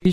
Y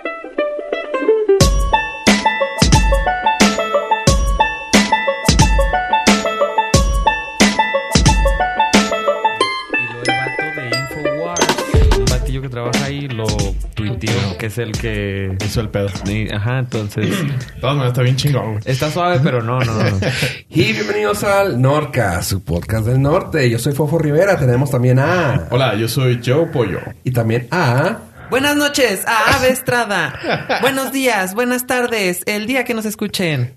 Y lo del vato de Infowars, un batillo que trabaja ahí, lo tuiteó, que es el que... Hizo el pedo. ni- Ajá, entonces... Todas maneras, está bien chingón, güey. Está suave, pero no, Ah. no, no. Y bienvenidos al Norca, su podcast del norte. Yo soy Fofo Rivera, tenemos también a... Hola, yo soy Joe Pollo. Y también a... Buenas noches, a Ave Estrada. Buenos días, buenas tardes, el día que nos escuchen.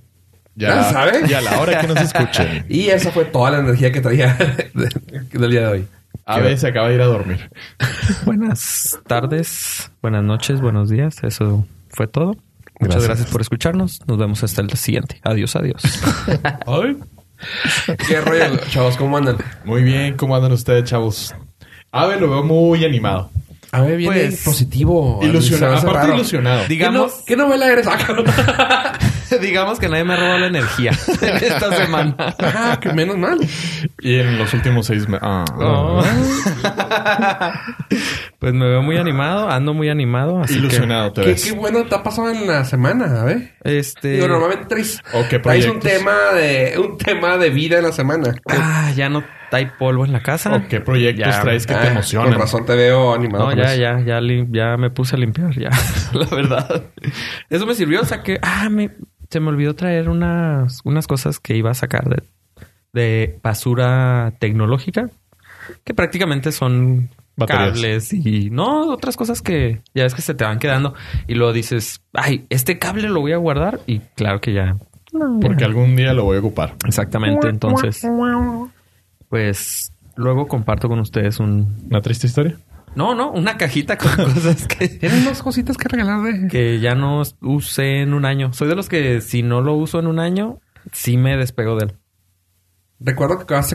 Ya, Ah, ¿sabe? Y a la hora que nos escuchen. Y esa fue toda la energía que traía de- del día de hoy. A veces se acaba de ir a dormir. Buenas tardes, buenas noches, buenos días. Eso fue todo. Muchas Gracias. gracias, por escucharnos. Nos vemos hasta el siguiente. Adiós, adiós. Ay. ¿Qué rollo, chavos? ¿Cómo andan? Muy bien, ¿cómo andan ustedes, chavos? Ave lo veo muy animado. A ver, viene Pues, positivo. Ilusionado. Se me hace Aparte, raro. ilusionado. ¿Qué, no- digamos, qué novela eres? Ah, cabrón. digamos que nadie me ha robado la energía en esta semana. Ah, que menos mal. Y en los últimos seis meses. Ah, No. pues me veo muy animado, ando muy animado. Así Ilusionado te ¿Qué, ves. qué bueno te ha pasado en la semana, a ver. Que, este. Digo, normalmente traes, ¿O qué traes un proyectos? tema de un tema de vida en la semana. Ah, ya no hay polvo en la casa. ¿O qué proyectos Ya, traes que Ah, te emocionan? Con razón te veo animado. No, con ya, eso. ya, ya, lim- ya me puse a limpiar, ya. la verdad. Eso me sirvió, saqué... Ah, me, se me olvidó traer unas, unas cosas que iba a sacar de, de basura tecnológica. Que prácticamente son Baterías. cables y... No, otras cosas que ya ves que se te van quedando. Y luego dices, ay, este cable lo voy a guardar. Y claro que ya... no, ya. Porque algún día lo voy a ocupar. Exactamente, entonces... Pues... Luego comparto con ustedes un... ¿Una triste historia? No, no, una cajita con cosas que... Tienes dos cositas que regalar de... que ya no usé en un año. Soy de los que si no lo uso en un año, sí me despego de él. Recuerdo que casi,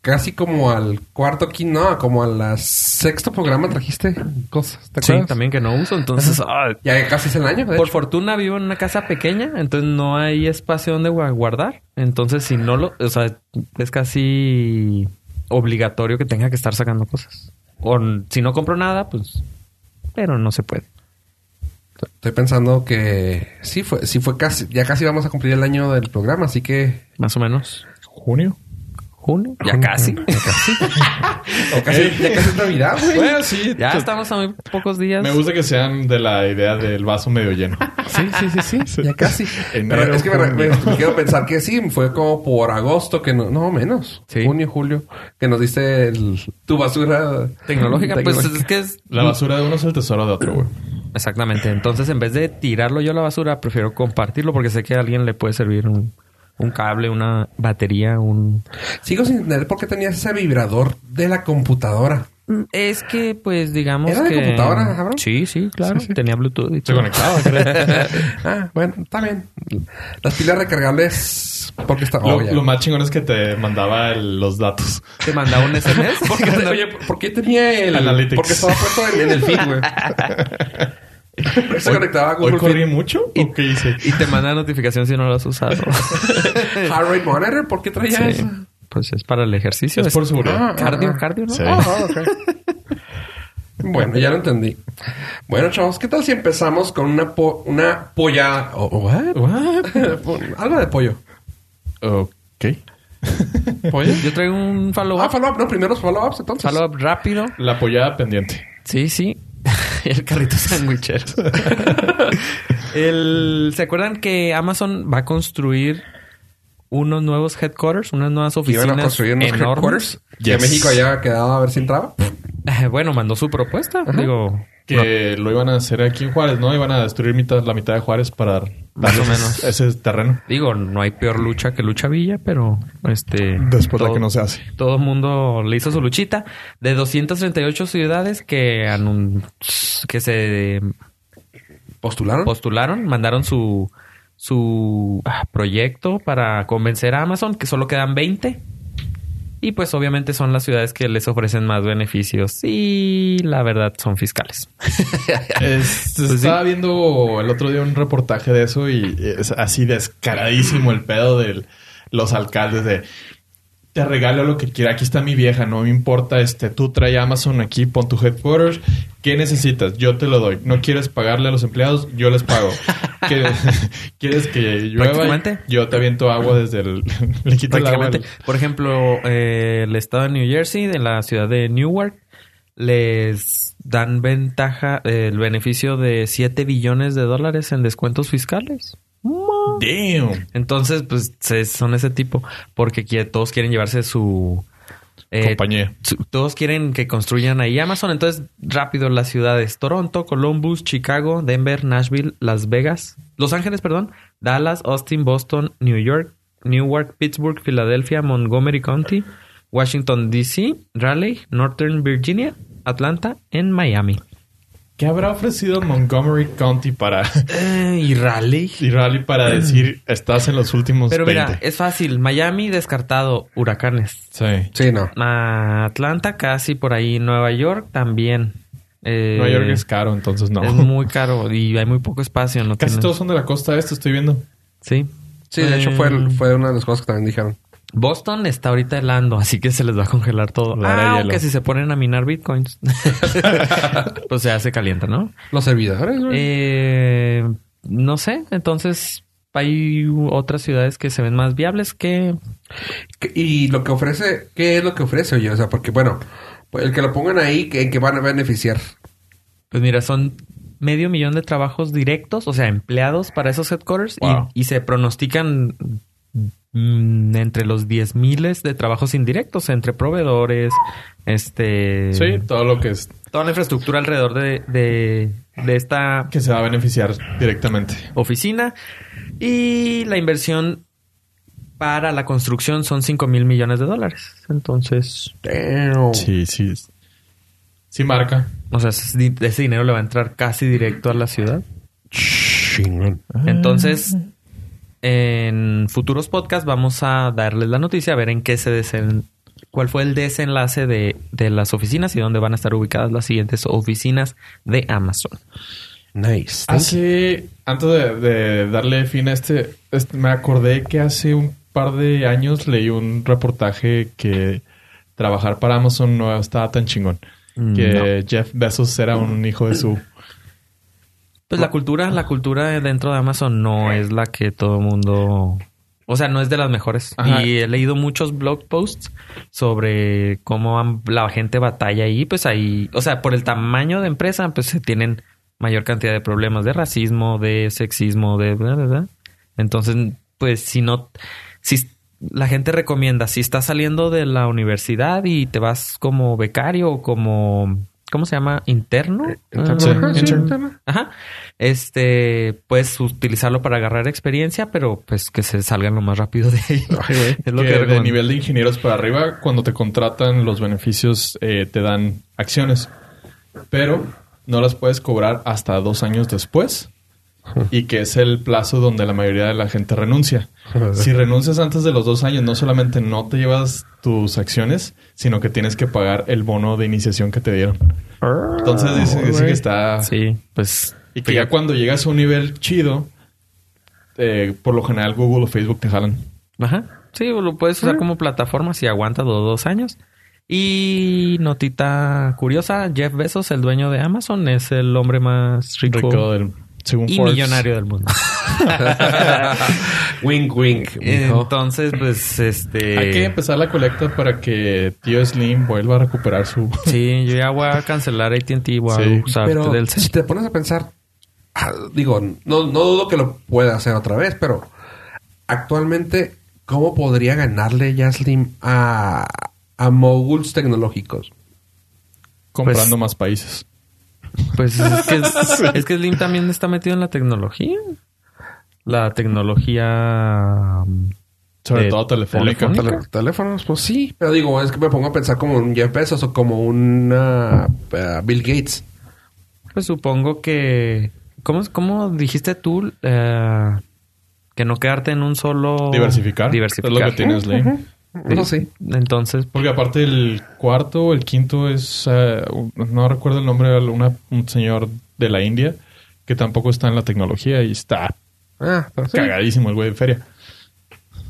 casi como al cuarto, quinto, no, como al la- sexto programa trajiste cosas. ¿Te Sí, acuerdas? también que no uso. Entonces, ah, Ya casi es el año. de por hecho. fortuna vivo en una casa pequeña, entonces no hay espacio donde gua- guardar. Entonces, si no lo, o sea, es casi obligatorio que tenga que estar sacando cosas. O n- si no compro nada, pues, pero no se puede. Estoy pensando que sí fue, sí fue casi, ya casi vamos a cumplir el año del programa, así que Más o menos. ¿Junio? Junio. Ya casi. ya casi, ya casi es Navidad, güey. Bueno, Pues sí. ya te- estamos a muy pocos días. Me gusta que sean de la idea del vaso medio lleno. Sí, sí, sí, sí, ya pues, casi. Enero, Pero es que me, junio. me- me quiero pensar que sí, fue como por agosto que no, no menos, Sí. junio, julio, que nos diste el- tu basura Tecnológica, pues es que es La basura de uno es el tesoro de otro, güey. Exactamente. Entonces, en vez de tirarlo yo a la basura, prefiero compartirlo porque sé que a alguien le puede servir un, un cable, una batería, un... Sigo sin entender por qué tenías ese vibrador de la computadora. Mm, Es que, pues, digamos ¿Era de que... computadora, cabrón? Sí, sí, claro. Tenía Bluetooth y Se todo. conectaba, creo. Ah, bueno, está bien. Las pilas recargables, porque está. Lo, oh, ya. lo más chingón es que te mandaba el- los datos. Te mandaba un SMS. Porque, oye, ¿por qué tenía el. Analytics. Porque estaba puesto en, en el feed, güey. Se conectaba a ¿Hoy Google corrí Feed. mucho? ¿O qué hice? y te manda notificación si no lo has usado. Heart rate monitor, ¿por qué traía Sí. eso? Pues es para el ejercicio. Es por seguridad. Ah, Cardio, cardio, ¿no? Sí. ah, ah, ok. Bueno, ya lo entendí. Bueno, chavos, ¿qué tal si empezamos con una, po- una polla? o- oh. o what? Algo de pollo. Ok. ¿Pollo? Yo traigo un Ah, pues. follow-up. follow-up, no, primero los follow-ups, entonces. follow-up rápido. La apoyada pendiente. Sí, sí. El carrito sandwichero. El- ¿Se acuerdan que Amazon va a construir unos nuevos headquarters, unas nuevas Que oficinas iban a construir unos enormes? headquarters. Que Yes. México ya quedaba a ver si entraba. Eh, Bueno, mandó su propuesta. Digo, Que lo iban a hacer aquí en Juárez, ¿no? Iban a destruir mitad, la mitad de Juárez para Más darles o menos. ese terreno. digo, no hay peor lucha que lucha Villa, pero este Después la todo- que no se hace. Todo el mundo le hizo su luchita de 238 ciudades que anun- que se ¿Postularon? postularon, mandaron su, su ah, proyecto para convencer a Amazon, que solo quedan 20. Y pues obviamente son las ciudades que les ofrecen más beneficios y la verdad son fiscales. Es- Pues estaba viendo el otro día un reportaje de eso y es así descaradísimo el pedo de los alcaldes de te regalo lo que quiera. Aquí está mi vieja, no me importa. Este, tú trae Amazon aquí, pon tu headquarters. ¿Qué necesitas? Yo te lo doy. ¿No quieres pagarle a los empleados? Yo les pago. ¿Qué- ¿Quieres que llueva? Prácticamente. Yo te aviento agua desde el... le quito el agua. Prácticamente. Por ejemplo, eh, el estado de New Jersey, de la ciudad de Newark, les dan ventaja, eh, el beneficio de 7 billones de dólares en descuentos fiscales. Damn. Entonces, pues se- son ese tipo, porque qui- todos quieren llevarse su... eh, Compañía. su- Todos quieren que construyan ahí Amazon. Entonces, rápido, las ciudades. Toronto, Columbus, Chicago, Denver, Nashville, Las Vegas, Los Ángeles, perdón, Dallas, Austin, Boston, New York, Newark, Pittsburgh, Filadelfia, Montgomery County, Washington, D.C., Raleigh, Northern Virginia, Atlanta, en Miami. ¿Qué habrá ofrecido Montgomery County para... y Raleigh. y Raleigh para decir, estás en los últimos Pero mira, 20"? es fácil. Miami descartado, huracanes. Sí. Sí, no. Ah, Atlanta casi por ahí. Nueva York también. Eh, Nueva York es caro, entonces no. Es muy caro y hay muy poco espacio. No Casi tiene- todos son de la costa este, estoy viendo. Sí. Mm. Sí, de hecho fue, el- fue una de las cosas que también dijeron. Boston está ahorita helando, así que se les va a congelar todo. Dar a Ah, hielo. aunque si se ponen a minar bitcoins, pues ya se calienta, ¿no? Los servidores, güey. Eh, no sé. Entonces hay otras ciudades que se ven más viables que ¿Qué- Y lo que ofrece, ¿qué es lo que ofrece, oye? O sea, porque bueno, pues, el que lo pongan ahí, que, que van a beneficiar. Pues mira, son medio millón de trabajos directos, o sea, empleados para esos headquarters y- Wow. y, se pronostican mm, entre los 10 miles de trabajos indirectos entre proveedores, este... Sí, todo lo que es Toda la infraestructura alrededor de, de- de esta que se va a beneficiar directamente. oficina y la inversión para la construcción son 5 mil millones de dólares. Entonces, Oh. Sí, sí. Sí marca. o sea, ese di- ese dinero le va a entrar casi directo a la ciudad. Chingón. Entonces, en futuros podcasts vamos a darles la noticia, a ver en qué se desen... cuál fue el desenlace de, de las oficinas y dónde van a estar ubicadas las siguientes oficinas de Amazon. Nice. Ah, Hace, antes de, de darle fin a este, este- me acordé que hace un par de años leí un reportaje que trabajar para Amazon no estaba tan chingón. Mm, Que Jeff Bezos era un hijo de su... Pues la cultura, la cultura dentro de Amazon no Eh. es la que todo el mundo, o sea, no es de las mejores. Ajá. Y he leído muchos blog posts sobre cómo am- la gente batalla ahí, pues ahí, o sea, por el tamaño de empresa, pues se tienen mayor cantidad de problemas de racismo, de sexismo, de bla, bla, bla. Entonces, pues si no, si s- la gente recomienda, si estás saliendo de la universidad y te vas como becario o como, ¿cómo se llama? Interno. Sí, Ah, Eh, sí. Ajá. Este, puedes utilizarlo para agarrar experiencia, pero pues que se salgan lo más rápido de ahí. es lo que, que de recomiendo. nivel de ingenieros para arriba, cuando te contratan los beneficios, eh, te dan acciones. Pero no las puedes cobrar hasta dos años después. Y que es el plazo donde la mayoría de la gente renuncia. Si renuncias antes de los dos años, no solamente no te llevas tus acciones, sino que tienes que pagar el bono de iniciación que te dieron. Ah. Entonces dice, dice que está... Sí, pues Y que ya cuando llegas a un nivel chido, eh, por lo general Google o Facebook te jalan. Ajá. Sí, lo puedes Ah. usar como plataforma si aguantas los dos años. Y notita curiosa, Jeff Bezos, el dueño de Amazon, es el hombre más rico, Rico del... Según y Forbes. millonario del mundo. wink, wink. mijo. Entonces, pues, este... Hay que empezar la colecta para que tío Slim vuelva a recuperar su... Sí, yo ya voy a cancelar AT&T, voy Sí. a usar Pero del si te pones a pensar, ah, digo, no, no dudo que lo pueda hacer otra vez, pero actualmente, ¿cómo podría ganarle Yaslim a, a moguls tecnológicos? comprando Pues- más países. Pues es que, es que Slim también está metido en la tecnología. La tecnología... mm, Sobre Eh, todo telefónica. telefónica. Tele- teléfonos, pues sí. Pero digo, es que me pongo a pensar como un Jeff Bezos o como un ah, ah, Bill Gates. Pues supongo que... ¿Cómo, es- cómo dijiste tú? eh, que no quedarte en un solo... Diversificar. Diversificar. Es lo que tiene Slim. No sé. Entonces, Porque aparte el cuarto o el quinto es... eh, un- no recuerdo el nombre de alguna- un señor de la India que tampoco está en la tecnología y está Ah, pero sí. cagadísimo el güey de feria.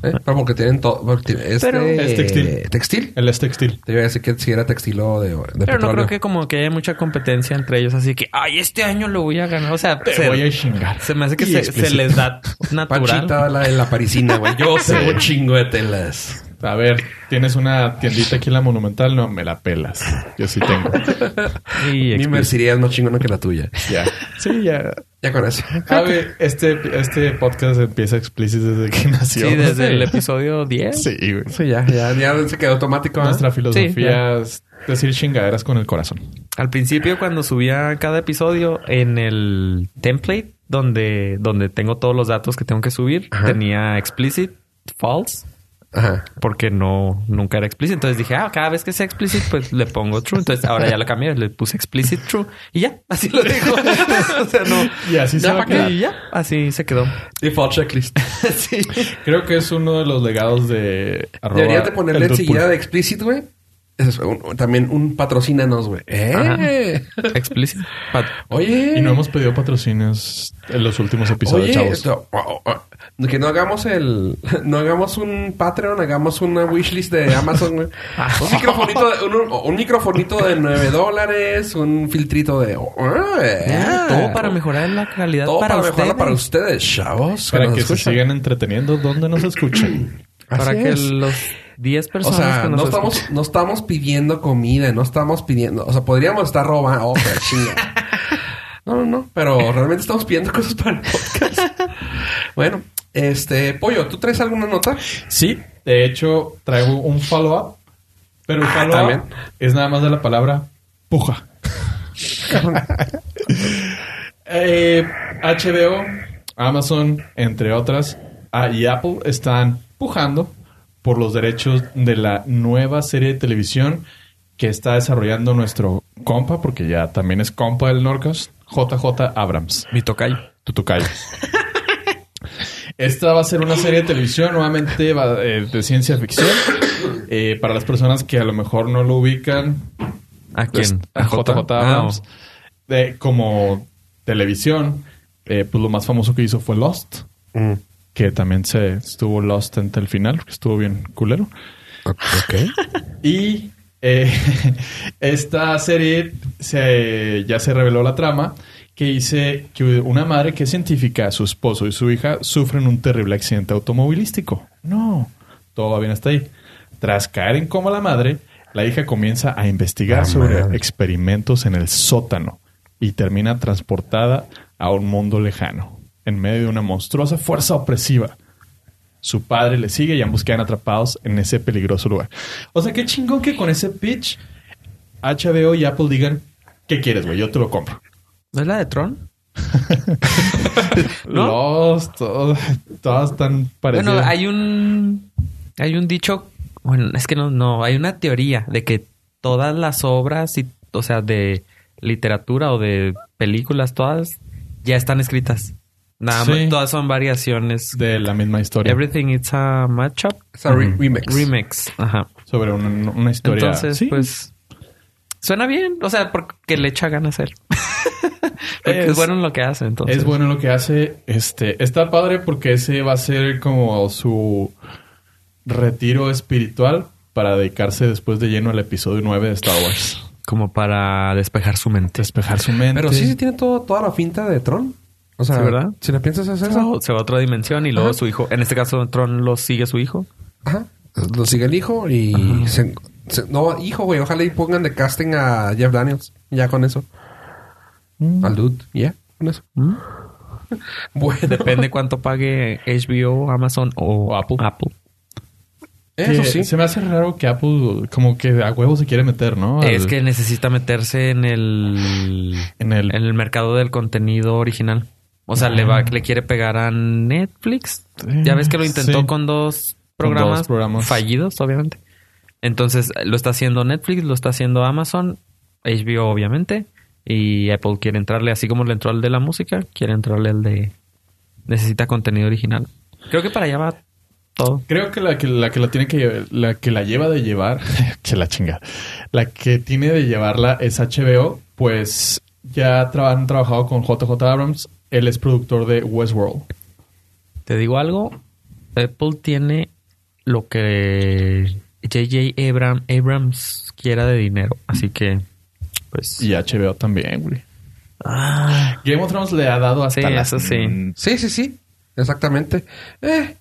¿eh? Pero porque tienen todo. porque tiene- Este, Pero- Es textil. Textil. El es textil. Te iba a decir que si era textil o de, de Pero no petróleo. creo que como que haya mucha competencia entre ellos, así que, ay, este año lo voy a ganar. O sea, Te se, voy a chingar. se me hace que Y se, explícito. se les da natural. Panchita, la de la parisina, güey. Yo sé un chingo de telas. A ver, tienes una tiendita aquí en la Monumental. No, me la pelas. Yo sí tengo. Y Mi explícito. mercería es más chingona que la tuya. Ya. Sí, ya. Ya con eso. Ah, A ver, este, este podcast empieza explícito desde que nació. Sí, desde el episodio 10. Sí, güey. Sí, ya, ya, ya se quedó automático. ¿ah? Nuestra filosofía es decir chingaderas con el corazón. Al principio, cuando subía cada episodio en el template donde, donde tengo todos los datos que tengo que subir, Ajá. tenía explicit, false, Ajá. porque no, nunca era explicit. Entonces dije, ah, cada vez que sea explicit, pues le pongo true. Entonces ahora ya lo cambié, le puse explicit true y ya, así lo dijo. o sea, no. Y así se Ya, va a ¿pa' qué? quedar. Y ya, así se quedó. Default checklist. sí. Creo que es uno de los legados de arroba Deberías de ponerle el Deadpool. enseguida de explicit, güey. Es un- también un patrocínanos, güey. ¡Eh! Explicit. Pat- Oye. Y no hemos pedido patrocinios en los últimos episodios, Oye, chavos. esto- oh, oh, oh. que no hagamos el... No hagamos un Patreon, hagamos una wishlist de Amazon, güey. un, microfonito de, un, un microfonito de 9 dólares, un filtrito de... oh, eh, Ah, todo para mejorar la calidad Todo para, para, mejorarla ustedes. para ustedes, chavos. Para nos que se escuchan. sigan entreteniendo donde nos escuchen. Para Así que es. los 10 O personas sea, que nos no estamos, escuchan- no estamos pidiendo comida, no estamos pidiendo... O sea, podríamos estar robando... Oh, pero chinga. No, no, no. Pero realmente estamos pidiendo cosas para el podcast. bueno, este... Pollo, ¿tú traes alguna nota? Sí, de hecho, traigo un follow-up. Pero el Ah, follow-up también. es nada más de la palabra puja. Eh, HBO, Amazon, entre otras, ah, y Apple están pujando por los derechos de la nueva serie de televisión que está desarrollando nuestro compa, porque ya también es compa del Norcas, JJ Abrams. Mi tocayo. Tu tocayo. Esta va a ser una serie de televisión, nuevamente va, eh, de ciencia ficción. Eh, para las personas que a lo mejor no lo ubican, ¿A quién? Pues, a JJ Abrams. Ah, De- como televisión, eh, pues lo más famoso que hizo fue Lost, Mm. que también se estuvo Lost hasta el final, que estuvo bien culero. Y eh, esta serie se, ya se reveló la trama que dice que una madre que es científica, su esposo y su hija sufren un terrible accidente automovilístico. No, todo va bien hasta ahí. Tras caer en coma la madre, la hija comienza a investigar sobre experimentos en el sótano y termina transportada a un mundo lejano, en medio de una monstruosa fuerza opresiva. Su padre le sigue y ambos quedan atrapados en ese peligroso lugar. O sea, qué chingón que con ese pitch HBO y Apple digan, ¿qué quieres, güey? Yo te lo compro. ¿No es la de Tron? ¿No? Los, todos, todas están parecidas. Bueno, hay un... Hay un dicho... Bueno, es que no, no. Hay una teoría de que todas las obras, y, o sea, de literatura o de películas, todas ya están escritas. Nada Sí. más, todas son variaciones. de la misma historia. Everything it's a matchup. Es un re- remix. Remix. Ajá. Sobre una, una historia. Entonces, Sí, pues... Suena bien. O sea, porque le echa ganas a él. porque es, Es- bueno en lo que hace, entonces. Es bueno lo que hace. Este, está padre porque ese va a ser como su retiro espiritual para dedicarse después de lleno al episodio 9 de Star Wars. Como para despejar su mente. Despejar su mente. Pero sí, sí tiene todo, toda la finta de Tron. O sea, Sí, ¿verdad? Oh. si la piensas es Se va- eso. se va a otra dimensión y luego Ajá. su hijo, en este caso Tron lo sigue su hijo. Ajá. Lo sigue el hijo y... se- se- no, hijo, güey. Ojalá y pongan de casting a Jeff Daniels. Ya con eso. Mm. Mm. Al dude. Ya, con eso. Bueno. Depende cuánto pague HBO, Amazon o, O Apple. Apple. Eso Que sí. Se me hace raro que Apple como que a huevo se quiere meter, ¿no? Al- Es que necesita meterse en el, En el- en el mercado del contenido original. O sea, le va, le quiere pegar a Netflix. Ah. Sí. Ya ves que lo intentó Sí. con dos Con dos programas, programas. fallidos, obviamente. Entonces, lo está haciendo Netflix, lo está haciendo Amazon, HBO, obviamente. Y Apple quiere entrarle, así como le entró al de la música, quiere entrarle al de. Necesita contenido original. Creo que para allá va todo. Creo que la que la que la tiene que lle- la que la lleva de llevar, que la chinga. La que tiene de llevarla es HBO, pues ya tra- han trabajado con JJ Abrams, él es productor de Westworld. Te digo algo, Apple tiene lo que JJ Abram- Abrams quiera de dinero. Así que, pues... Y HBO también, güey. Ah, Game of Thrones le ha dado hasta Sí, la- eso sí. Sí, sí, sí. Exactamente. Eh,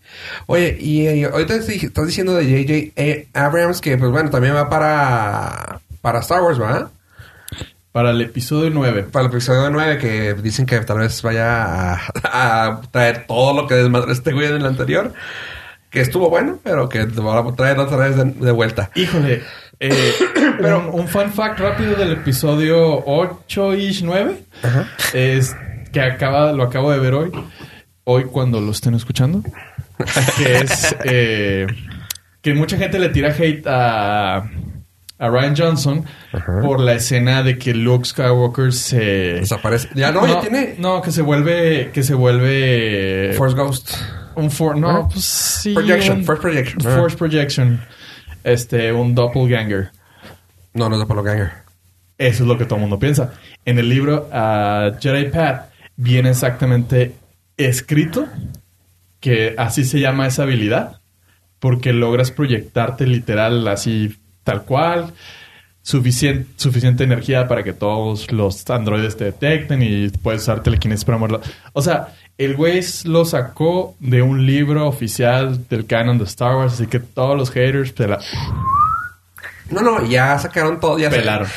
Oye, y, eh, ahorita sí estás diciendo de J.J. eh, Abrams que, pues bueno, también va para, para Star Wars, ¿verdad? Para el episodio 9. Para el episodio 9 que dicen que tal vez vaya a, a traer todo lo que desmadró este güey en el anterior. Que estuvo bueno, pero que lo va a traer otra vez de, de vuelta. Híjole. eh, pero un fun fact rápido del episodio 8-ish 9 es que acaba, lo acabo de ver hoy. Hoy cuando lo estén escuchando. Que es eh, que mucha gente le tira hate a, a Ryan Johnson por la escena de que Luke Skywalker se. Desaparece. Ya no, ya tiene no, que se vuelve. Que se vuelve. Force Ghost. Un for- no, Ajá. pues sí. Projection, un- Force Projection. Force Projection. Este, un doppelganger. No, no es de Ganger. Eso es lo que todo el mundo piensa. En el libro ah, Jedi Path viene exactamente escrito que así se llama esa habilidad. Porque logras proyectarte literal así, tal cual. Suficiente, suficiente energía para que todos los androides te detecten y puedes usar telequinesis para moverla. O sea, el güey s- lo sacó de un libro oficial del canon de Star Wars, así que todos los haters se la No, no, ya sacaron todo, ya Pelaron.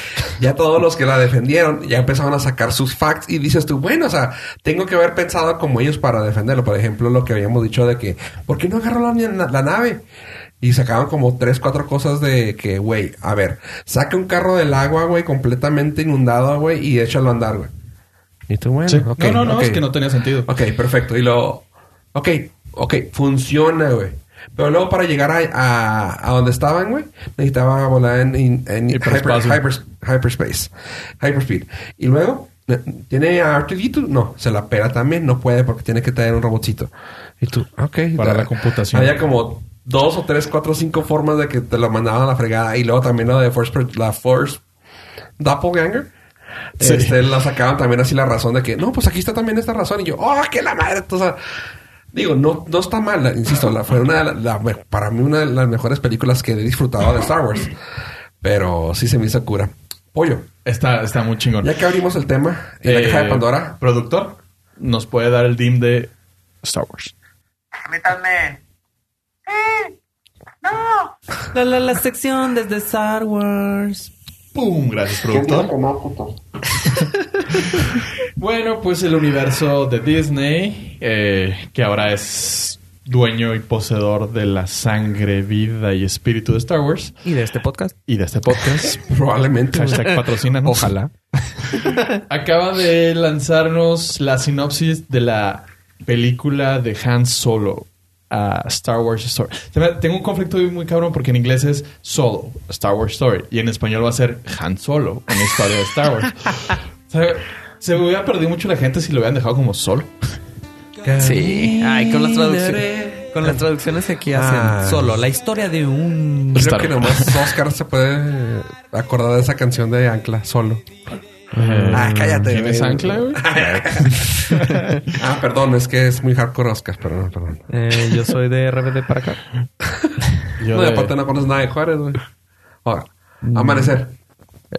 Ya todos los que la defendieron ya empezaron a sacar sus facts y dices tú, bueno, o sea, tengo que haber pensado como ellos para defenderlo. Por ejemplo, lo que habíamos dicho de que, ¿por qué no agarró la, na- la nave? Y sacaban como tres, cuatro cosas de que, güey, a ver, saca un carro del agua, güey, completamente inundado, güey, y échalo a andar, güey. Y tú, bueno, Sí. ok, no, no, no, ok. es que no tenía sentido. Ok, perfecto. Y luego, ok, ok, funciona, güey. Pero luego para llegar a, a, a donde estaban, güey, necesitaba volar en, en- en hyper- Hiperespacio. hyper- hyperspace, hyperspeed. Y luego, eh, ¿tiene a R2D2? No, se la pera también, no puede porque tiene que traer un robotcito. Y tú, ok. Para da- la computación. Había como dos o tres, cuatro, cinco formas de que te lo mandaban a la fregada. Y luego también la de Force, Pro- la Force Doppelganger. Sí. Este, la sacaban también así la razón de que, no, pues aquí está también esta razón. Y yo, ¡oh, que la madre! O sea, digo, no, no está mal, la- insisto, la, fue una de la- la me- para mí una de las mejores películas que he disfrutado de Star Wars. Pero sí se me hizo cura. Pollo, Está, está muy chingón. ya que abrimos el tema y la Eh, caja de Pandora, Productor, nos puede dar el DIM de Star Wars. Permítanme. Sí. No. La, la, la sección desde Star Wars. ¡Pum! Gracias, productor. Bueno, pues el universo de Disney, eh, que ahora es dueño y poseedor de la sangre, vida y espíritu de Star Wars y de este podcast. y de este podcast. probablemente. güey. Hashtag patrocínanos. Ojalá. Acaba de lanzarnos la sinopsis de la película de Han Solo. a Star Wars Story. Se me- Tengo un conflicto muy cabrón porque en inglés es Solo, Star Wars Story. Y en español va a ser Han Solo, una historia de Star Wars. O sea, se me hubiera perdido mucho la gente si lo hubieran dejado como Solo. Sí. Ay, con las traducciones. Con las traducciones que aquí hacen. Ah. Solo la historia de un. Creo Star Pues que Wars. nomás Oscar se puede acordar de esa canción de Ancla solo. ah, cállate. ¿Quién es güey. Eh, Ancla, güey? Ah, perdón, es que es muy hardcore Oscar, perdón, perdón. Eh, yo soy de RBD para acá. Yo no, y de- Mm. aparte no conoces nada de Juárez, güey. Ahora, amanecer.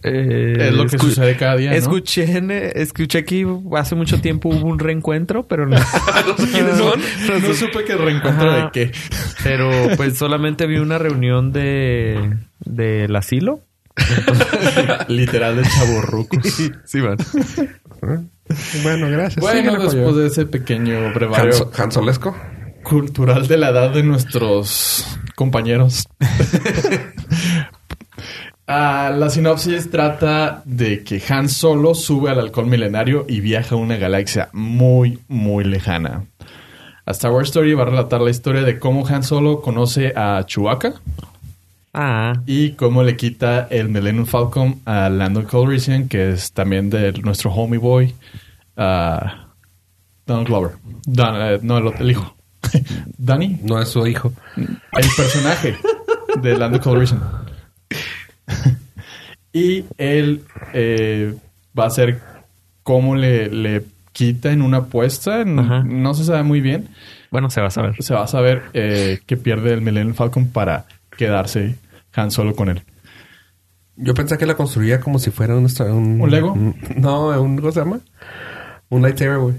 Eh, Es lo que escu- sucede cada día, ¿no? Escuché, en, eh, escuché que hace mucho tiempo hubo un reencuentro, pero no. No sé quiénes son. No supe que reencuentro Ajá. de qué. Pero pues solamente vi una reunión de del asilo. Literal de chaborrucos. Sí, van. Bueno, gracias. Bueno, después de ese pequeño brevario Hansolesco. cultural de la edad de nuestros compañeros. Ah, la sinopsis trata de que Han Solo sube al halcón milenario y viaja a una galaxia muy, muy lejana. A Star Wars Story va a relatar la historia de cómo Han Solo conoce a Chewbacca Ah, y cómo le quita el Millennium Falcon a Lando Calrissian, que es también de nuestro homie boy, ah, Donald Glover. Don- eh, no, el, otro- el hijo. Danny, No es su hijo. el personaje de Lando Calrissian. y él eh, va a hacer cómo le, le quita en una apuesta. en- Ajá. no se sabe muy bien. Bueno, se va a saber. se va a saber eh, que pierde el Millennium Falcon para quedarse Han solo con él. Yo pensé que la construía como si fuera un... ¿Un, ¿Un Lego? no, un... ¿Cómo se llama? Un lightsaber, güey.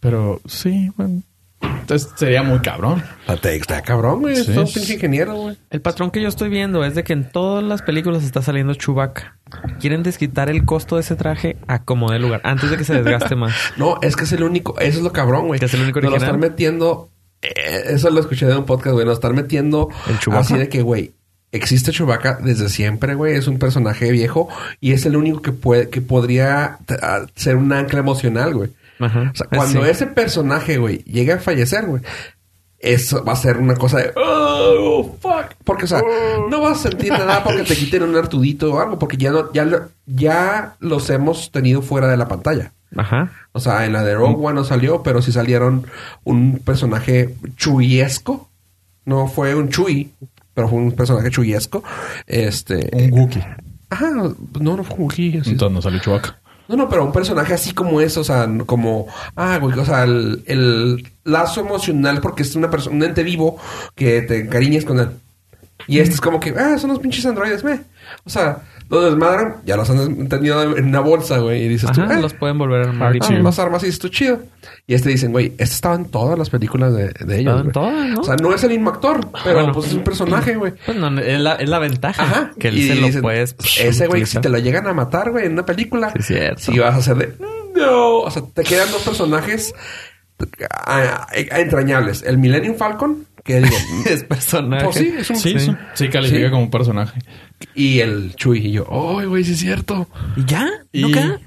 Pero sí, bueno. Entonces sería muy cabrón. La te- Está cabrón, güey. Sí. Es un pinche ingeniero, güey. El patrón que yo estoy viendo es de que en todas las películas está saliendo Chewbacca. Quieren desquitar el costo de ese traje a como de lugar, antes de que se desgaste más. No, es que es el único... Eso es lo cabrón, güey. Que es el único Nos lo original. están metiendo... eh, eso lo escuché de un podcast, güey. Nos están metiendo... ¿El Chewbacca? así de que, güey... Existe Chewbacca desde siempre, güey. Es un personaje viejo y es el único que puede, que podría t- a- ser un ancla emocional, güey. Ajá. O sea, cuando Ah, Sí. ese personaje, güey, llegue a fallecer, güey, eso va a ser una cosa de... Oh, fuck. Porque, o sea, Oh. no vas a sentir nada porque te quiten un artudito o algo, porque ya, no, ya, lo- ya los hemos tenido fuera de la pantalla. Ajá. O sea, en la de Rogue One no salió, pero sí salieron un personaje chuyesco. No fue un chuy, pero fue un personaje chuyesco. Este... Un Wookiee. Ajá, no, no fue un Wookiee, así- Entonces no salió Chewbacca. no, no, pero un personaje así como eso, o sea, n- como, ah, güey, o sea, el, el lazo emocional porque es una persona, un ente vivo que te encariñas con él. Y este es como que, ah, son los pinches androides, güey. O sea, los desmadran, ya los han tenido en una bolsa, güey, y dices tú, Ajá. "Ah, Los pueden volver a armar. Archie. y- ah, chido. más armas y esto chido. Y este dicen, güey, este estaba en todas las películas de, de Estaba ellos. en güey". todas, ¿no? O sea, no es el mismo actor, pero Bueno. pues es un personaje, güey. Pues no, es la, es la ventaja. Ajá. Que él Y se lo dicen, "Pues, puedes. Ese güey, si utilizar. te lo llegan a matar, güey, en una película. Sí, es cierto. Si vas a hacer de. No. O sea, te quedan dos personajes ah, eh, entrañables. El Millennium Falcon, que digo. Es personaje. Pues sí, es un. Sí, sí. sí califica Sí. como un personaje. Y el Chuy. Y yo, ¡ay, güey, sí es cierto! ¿Y ya? Y- ¿Nunca?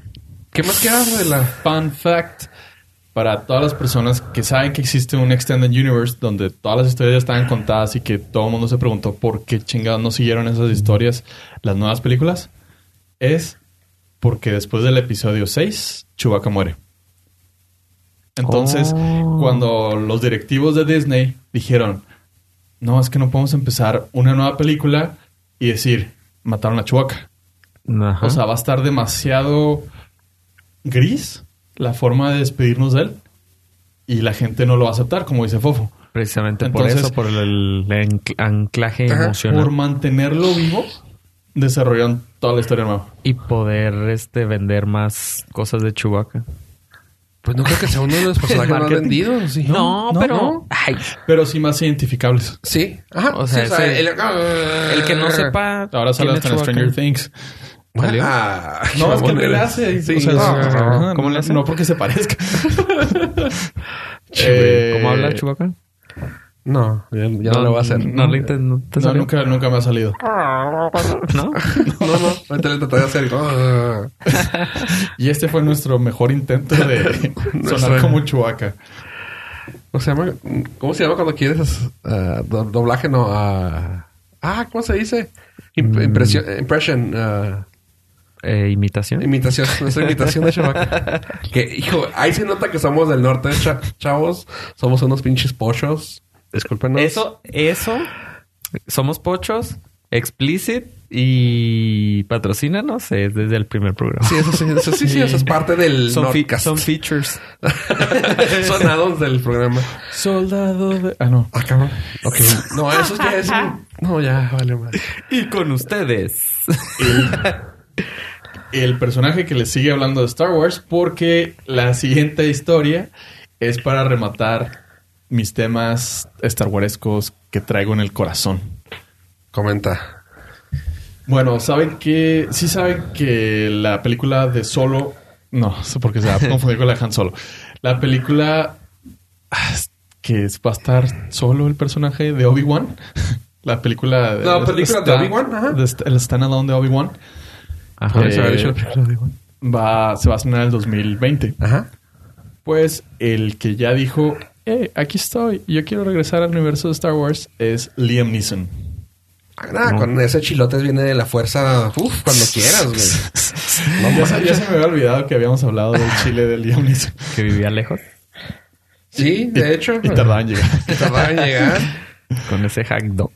¿Qué más queda de la.? Fun fact. Para todas las personas que saben que existe un Extended Universe donde todas las historias ya estaban contadas y que todo el mundo se preguntó por qué chingados no siguieron esas historias las nuevas películas, es porque después del episodio 6, Chewbacca muere. Entonces, Oh. cuando los directivos de Disney dijeron, no, es que no podemos empezar una nueva película y decir, mataron a Chewbacca. Ajá. O sea, va a estar demasiado gris la forma de despedirnos de él. Y la gente no lo va a aceptar, como dice Fofo. Precisamente Entonces- por eso, por el, ancl- anclaje Ajá, emocional. Por mantenerlo vivo, desarrollaron toda la historia nueva. Y poder este vender más cosas de Chewbacca. Pues no creo que sea uno de los personajes más Marketing. vendidos. Sí. No, no, pero. no. Ay, Pero sí más identificables. Sí. Ajá. O sea, sí, ese- el que no sepa. Ahora sale quién es hasta en Stranger Chewbacca. Things. Ah, No, es que chabón, no le eres- hace. Sí. O sea, Ah, ajá, ¿Cómo le hace? No porque se parezca. Sí, güey. ¿Cómo Eh, habla Chewbacca? No, ya, ya no, lo va a hacer. No, le inten- no te No, salió. nunca, nunca me ha salido. ¿No? No, no. Ahorita le trataré de hacer. ah. Y este fue nuestro mejor intento de sonar Nuestro- como Chewbacca. ¿Cómo se llama? ¿Cómo se llama cuando quieres ah, do- doblaje? No. ah, ah, ¿cómo se dice? Mm. Imp- impresio- impression. ah, Eh, imitación. imitación. Nuestra imitación de Chewbacca. que, hijo, ahí se nota que somos del norte, cha- chavos. Somos unos pinches pochos. Discúlpenos. Eso, eso. Somos pochos, explicit y patrocínanos es desde el primer programa. Sí, eso sí, eso sí, sí, eso es parte del son, fi- Nordcast. son features. son add-ons del programa. Soldado de... Ah, no. Ah, cabrón. Ok. No, eso ya es... un- No, ya, vale, madre. Y con ustedes. el personaje que le sigue hablando de Star Wars porque la siguiente historia es para rematar mis temas Star Warescos que traigo en el corazón. Comenta. Bueno, saben que sí saben que la película de Solo no, sé por qué se va a confundir con la de Han Solo. La película ah, es que es- va a estar solo el personaje de Obi-Wan. La película La película de sta- Obi-Wan, ajá. de st- el standalone de Obi-Wan Ajá. Eso había dicho el primero, digo. va se va a estrenar en el 2020. Ajá. Pues el que ya dijo, eh, aquí estoy, yo quiero regresar al universo de Star Wars, es Liam Neeson. Ah, nada, con ese chilotes viene de la fuerza, uf, cuando quieras, güey. No ya, se, manches. ya se me había olvidado que habíamos hablado del chile de Liam Neeson. Que vivía lejos Sí, de hecho. Y tardaba en llegar. Y tardaba en llegar. con ese hack dog.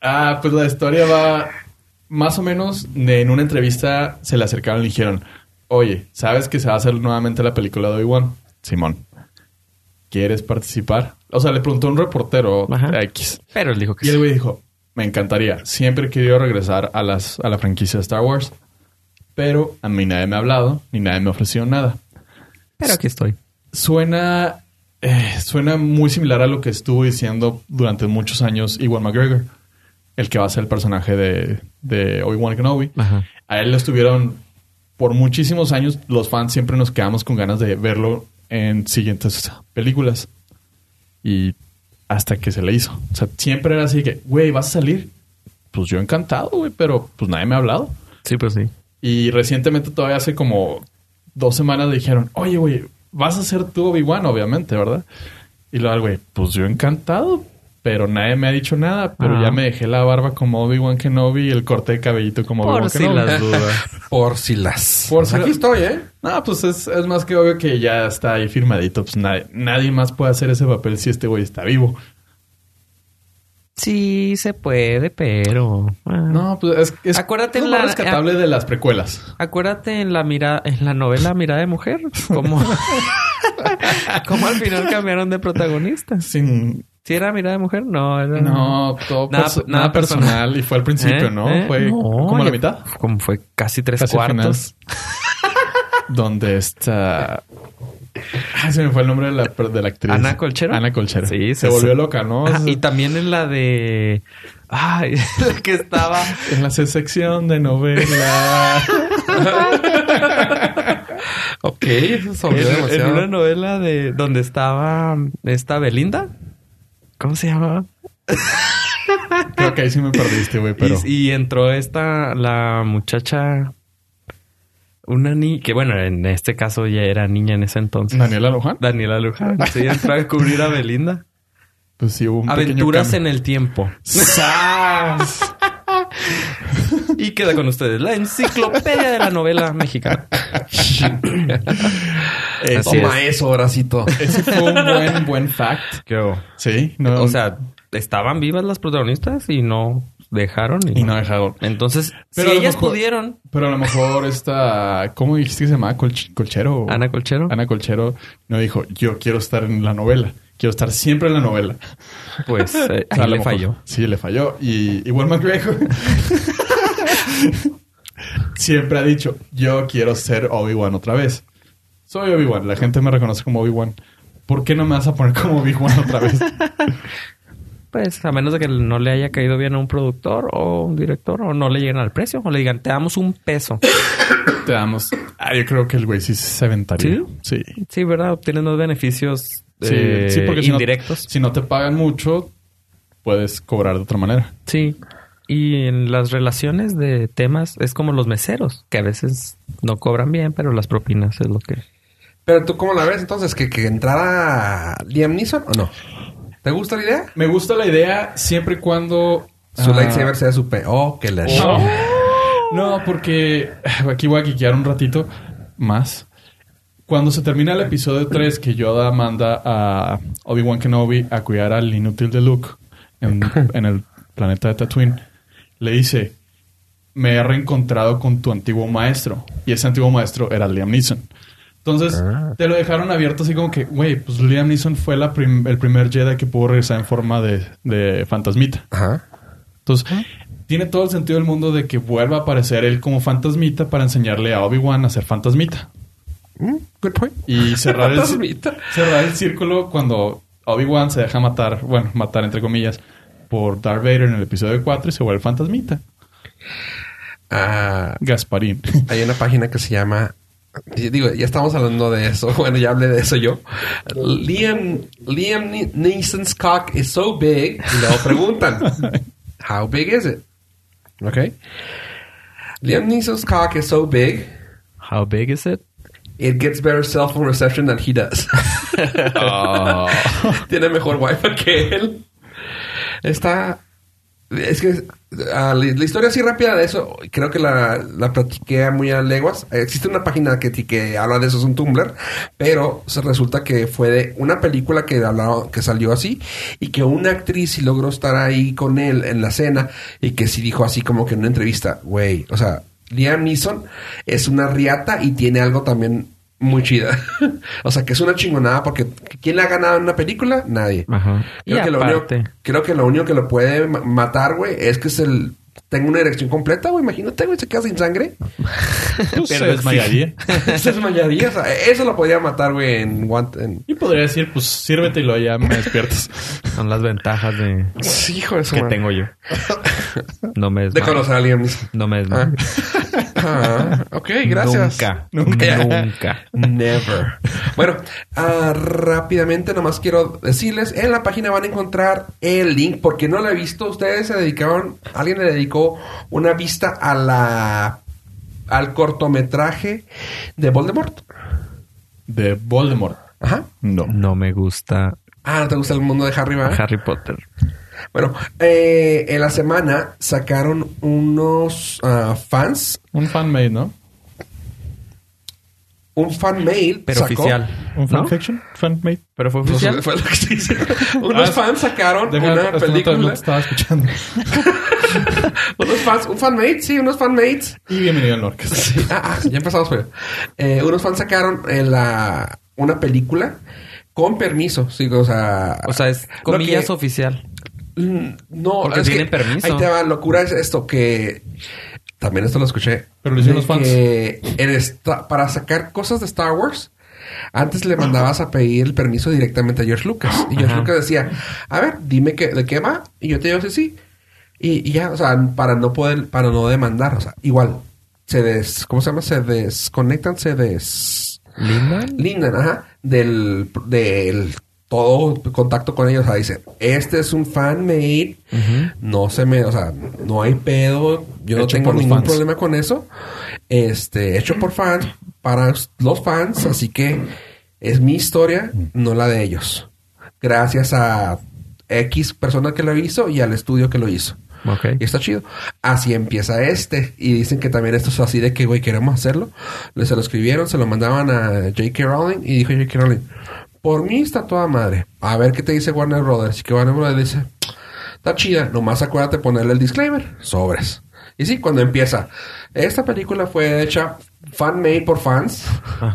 Ah, pues la historia va más o menos de- en una entrevista se le acercaron y le dijeron, oye, ¿sabes que se va a hacer nuevamente la película de Obi-Wan? Simón, ¿quieres participar? O sea, le preguntó a un reportero Ajá. a X. Pero él dijo que Y el sí. güey dijo, me encantaría. Siempre he querido regresar a, las, a la franquicia de Star Wars. Pero a mí nadie me ha hablado, ni nadie me ofreció nada. Pero aquí estoy. Suena, eh, suena muy similar a lo que estuvo diciendo durante muchos años Iwan McGregor. El que va a ser el personaje de, de Obi-Wan Kenobi. Ajá. A él lo estuvieron por muchísimos años. Los fans siempre nos quedamos con ganas de verlo en siguientes películas. Y hasta que se le hizo. O sea, siempre era así que, güey, ¿vas a salir? Pues yo encantado, güey, pero pues nadie me ha hablado. Sí, pues sí. Y recientemente, todavía hace como dos semanas, le dijeron, oye, güey, vas a ser tú Obi-Wan, obviamente, ¿verdad? Y luego, el güey, pues yo encantado, pero nadie me ha dicho nada. Pero Ah. ya me dejé la barba como Obi-Wan Kenobi y el corte de cabellito como Obi-Wan Por si Kenobi. las dudas. Por si las. Por Pues si- aquí estoy, ¿eh? No, pues es, es más que obvio que ya está ahí firmadito. Pues nadie, nadie más puede hacer ese papel si este güey está vivo. Sí, se puede, pero. ah. No, pues es, es, Acuérdate es lo en más la- rescatable de las precuelas. Acuérdate en la mira, en la novela Mirada de Mujer, como, como al final cambiaron de protagonista. Sin... ¿Sí era Mirada de Mujer? No, era. No, todo Nada- perso- nada nada personal. Y fue al principio, ¿Eh? ¿no? ¿Eh? Fue No, como la ya- mitad. Como fue casi tres Casi al cuartos. final. Donde está... Ah, se me fue el nombre de la, de la actriz. Ana Colchero. Ana Colchero. Sí, sí, se volvió sí. loca, ¿no? Ajá, y también en la de. Ay, la que estaba. En la sección de novela. Ok, eso se olvidó En, en demasiado. una novela de donde estaba esta Belinda. ¿Cómo se llamaba? Creo que ahí sí me perdiste, güey, pero... Y, y entró esta, la muchacha, una niña, que bueno, en este caso ya era niña en ese entonces. Daniela Luján. Daniela Luján. Sí, entró a cubrir a Belinda. Pues sí, hubo un pequeño Aventuras cambio. en el tiempo. ¡Sas! Y queda con ustedes la enciclopedia de la novela mexicana. Eh, Así Toma es. eso, bracito. Ese fue un buen, buen fact. ¿Qué hubo? Sí, no. O sea, estaban vivas las protagonistas y no dejaron. Y, y no dejaron. Entonces, Pero a si lo ellas mejor- pudieron, Pero a lo mejor esta. ¿Cómo dijiste que se llamaba? Colch- Colchero. Ana Colchero. Ana Colchero no dijo, yo quiero estar en la novela. Quiero estar siempre en la novela. pues eh, O sea, a ahí lo le mejor- falló. Sí, le falló. Y igual McGregor. siempre ha dicho, yo quiero ser Obi-Wan otra vez. Soy Obi-Wan. La gente me reconoce como Obi-Wan. ¿Por qué no me vas a poner como Obi-Wan otra vez? Pues a menos de que no le haya caído bien a un productor o un director o no le lleguen al precio o le digan te damos un peso. Te damos. Ah, yo creo que el güey sí se aventaría. Sí. Sí, Sí, ¿verdad? Obtienes los beneficios eh, sí, porque si no- indirectos. si no te pagan mucho, puedes cobrar de otra manera. Sí. Y en las relaciones de temas es como los meseros, que a veces no cobran bien, pero las propinas es lo que... Pero tú, ¿cómo la ves entonces? ¿Que, que entrara Liam Neeson o no? ¿Te gusta la idea? Me gusta la idea siempre y cuando. Su Ah, lightsaber sea su pe... Oh, que la... No. No, porque aquí voy a quiquear un ratito más. Cuando se termina el episodio 3, que Yoda manda a Obi-Wan Kenobi a cuidar al inútil de Luke en, en el planeta de Tatooine, le dice: Me he reencontrado con tu antiguo maestro. Y ese antiguo maestro era Liam Neeson. Entonces, te lo dejaron abierto así como que, güey, pues Liam Neeson fue la prim- el primer Jedi que pudo regresar en forma de- de fantasmita. Ajá. Entonces, tiene todo el sentido del mundo de que vuelva a aparecer él como fantasmita para enseñarle a Obi-Wan a ser fantasmita. Mm, Good point. Y cerrar el, Fantasmita. cerrar el círculo cuando Obi-Wan se deja matar, bueno, matar entre comillas, por Darth Vader en el episodio 4 y se vuelve fantasmita. Ah, Gasparín. hay una página que se llama... Digo, ya estamos hablando de eso. Bueno, ya hablé de eso yo. Liam, Liam Ne- Neeson's cock is so big. Y luego preguntan, how big is it? Ok. Liam Neeson's cock is so big, How big is it? it gets better cell phone reception than he does. Ah. Oh. Tiene mejor wifi que él. Está... Es que ah, la la historia así rápida de eso, creo que la, la platiqué a muy a leguas. Existe una página que, ti- que habla de eso, es un Tumblr, pero se resulta que fue de una película que, hablaba- que salió así y que una actriz sí logró estar ahí con él en la cena y que sí dijo así como que en una entrevista, güey, o sea, Liam Neeson es una riata y tiene algo también muy chida. o sea, que es una chingonada porque ¿quién la ha ganado en una película? Nadie. Ajá. Y Creo, que lo único, aparte, creo que lo único que lo puede ma- matar, güey, es que es el... Tengo una erección completa, güey. Imagínate, güey, se queda sin sangre. Pues Pero se sí. desmayaría. Se desmayaría. O sea, e-, eso lo podría matar, güey, en, One- en- Y podría decir, pues sírvete y luego ya me despiertas. son las ventajas de Sí, hijo de su que madre. tengo yo. No me De desmayo. conocer a Liam Neeson. No me Ah. desmayo. Ah, ok, gracias. Nunca. Nunca. Nunca. Never. Bueno, ah, rápidamente nomás quiero decirles, en la página van a encontrar el link, porque no lo he visto, ustedes se dedicaron, alguien le dedicó una vista a la al cortometraje de Voldemort. De Voldemort. Ajá. No. No me gusta Ah, ¿no te gusta el mundo de Harry, ¿verdad? Harry Potter. Bueno, eh, en la semana sacaron unos ah, fans, Un fanmade, ¿no? un fan mail. Pero sacó- oficial. Un ¿No? fanfiction. Fanmade. Pero fue Pues, oficial. fue lo que te hice. Unos Ah, fans sacaron Deja, una es que no te- No película. te estaba escuchando. Unos fans, un fanmate, sí, unos fanmates. Y bienvenido al Norcas. Sí, ah, ah, ya empezamos, pero. Eh, unos fans sacaron eh, la, una película con permiso, sí, o sea. O sea, es lo comillas que- oficial. Mm, No, Porque es que tienen permiso. Ahí te va, locura es esto que. También esto lo escuché. Pero lo hicieron de los fans. que en esta- para sacar cosas de Star Wars, antes le mandabas a pedir el permiso directamente a George Lucas. Y George Ajá. Lucas decía: A ver, dime que, de qué va. Y yo te digo, sí, sí. Y, y ya, o sea, para no poder, para no demandar. O sea, igual. Se des. ¿Cómo se llama? Se desconectan, se des. Linda. Lindan, ajá, del, del todo contacto con ellos. O sea, dice, este es un fan made, no se me, o sea, no hay pedo, yo no Hecho tengo por los ningún fans. problema con eso. Este, hecho por fans, para los fans, así que es mi historia, no la de ellos. Gracias a X persona que lo hizo y al estudio que lo hizo. Ok. Y está chido. Así empieza este. Y dicen que también esto es así de que, güey, queremos hacerlo. Le- Se lo escribieron, se lo mandaban a J.K. Rowling y dijo J.K. Rowling, por mí está toda madre. A ver qué te dice Warner Brothers. Y que Warner Brothers dice, está chida, nomás acuérdate ponerle el disclaimer. Sobres. Y sí, cuando empieza, esta película fue hecha fan-made por fans.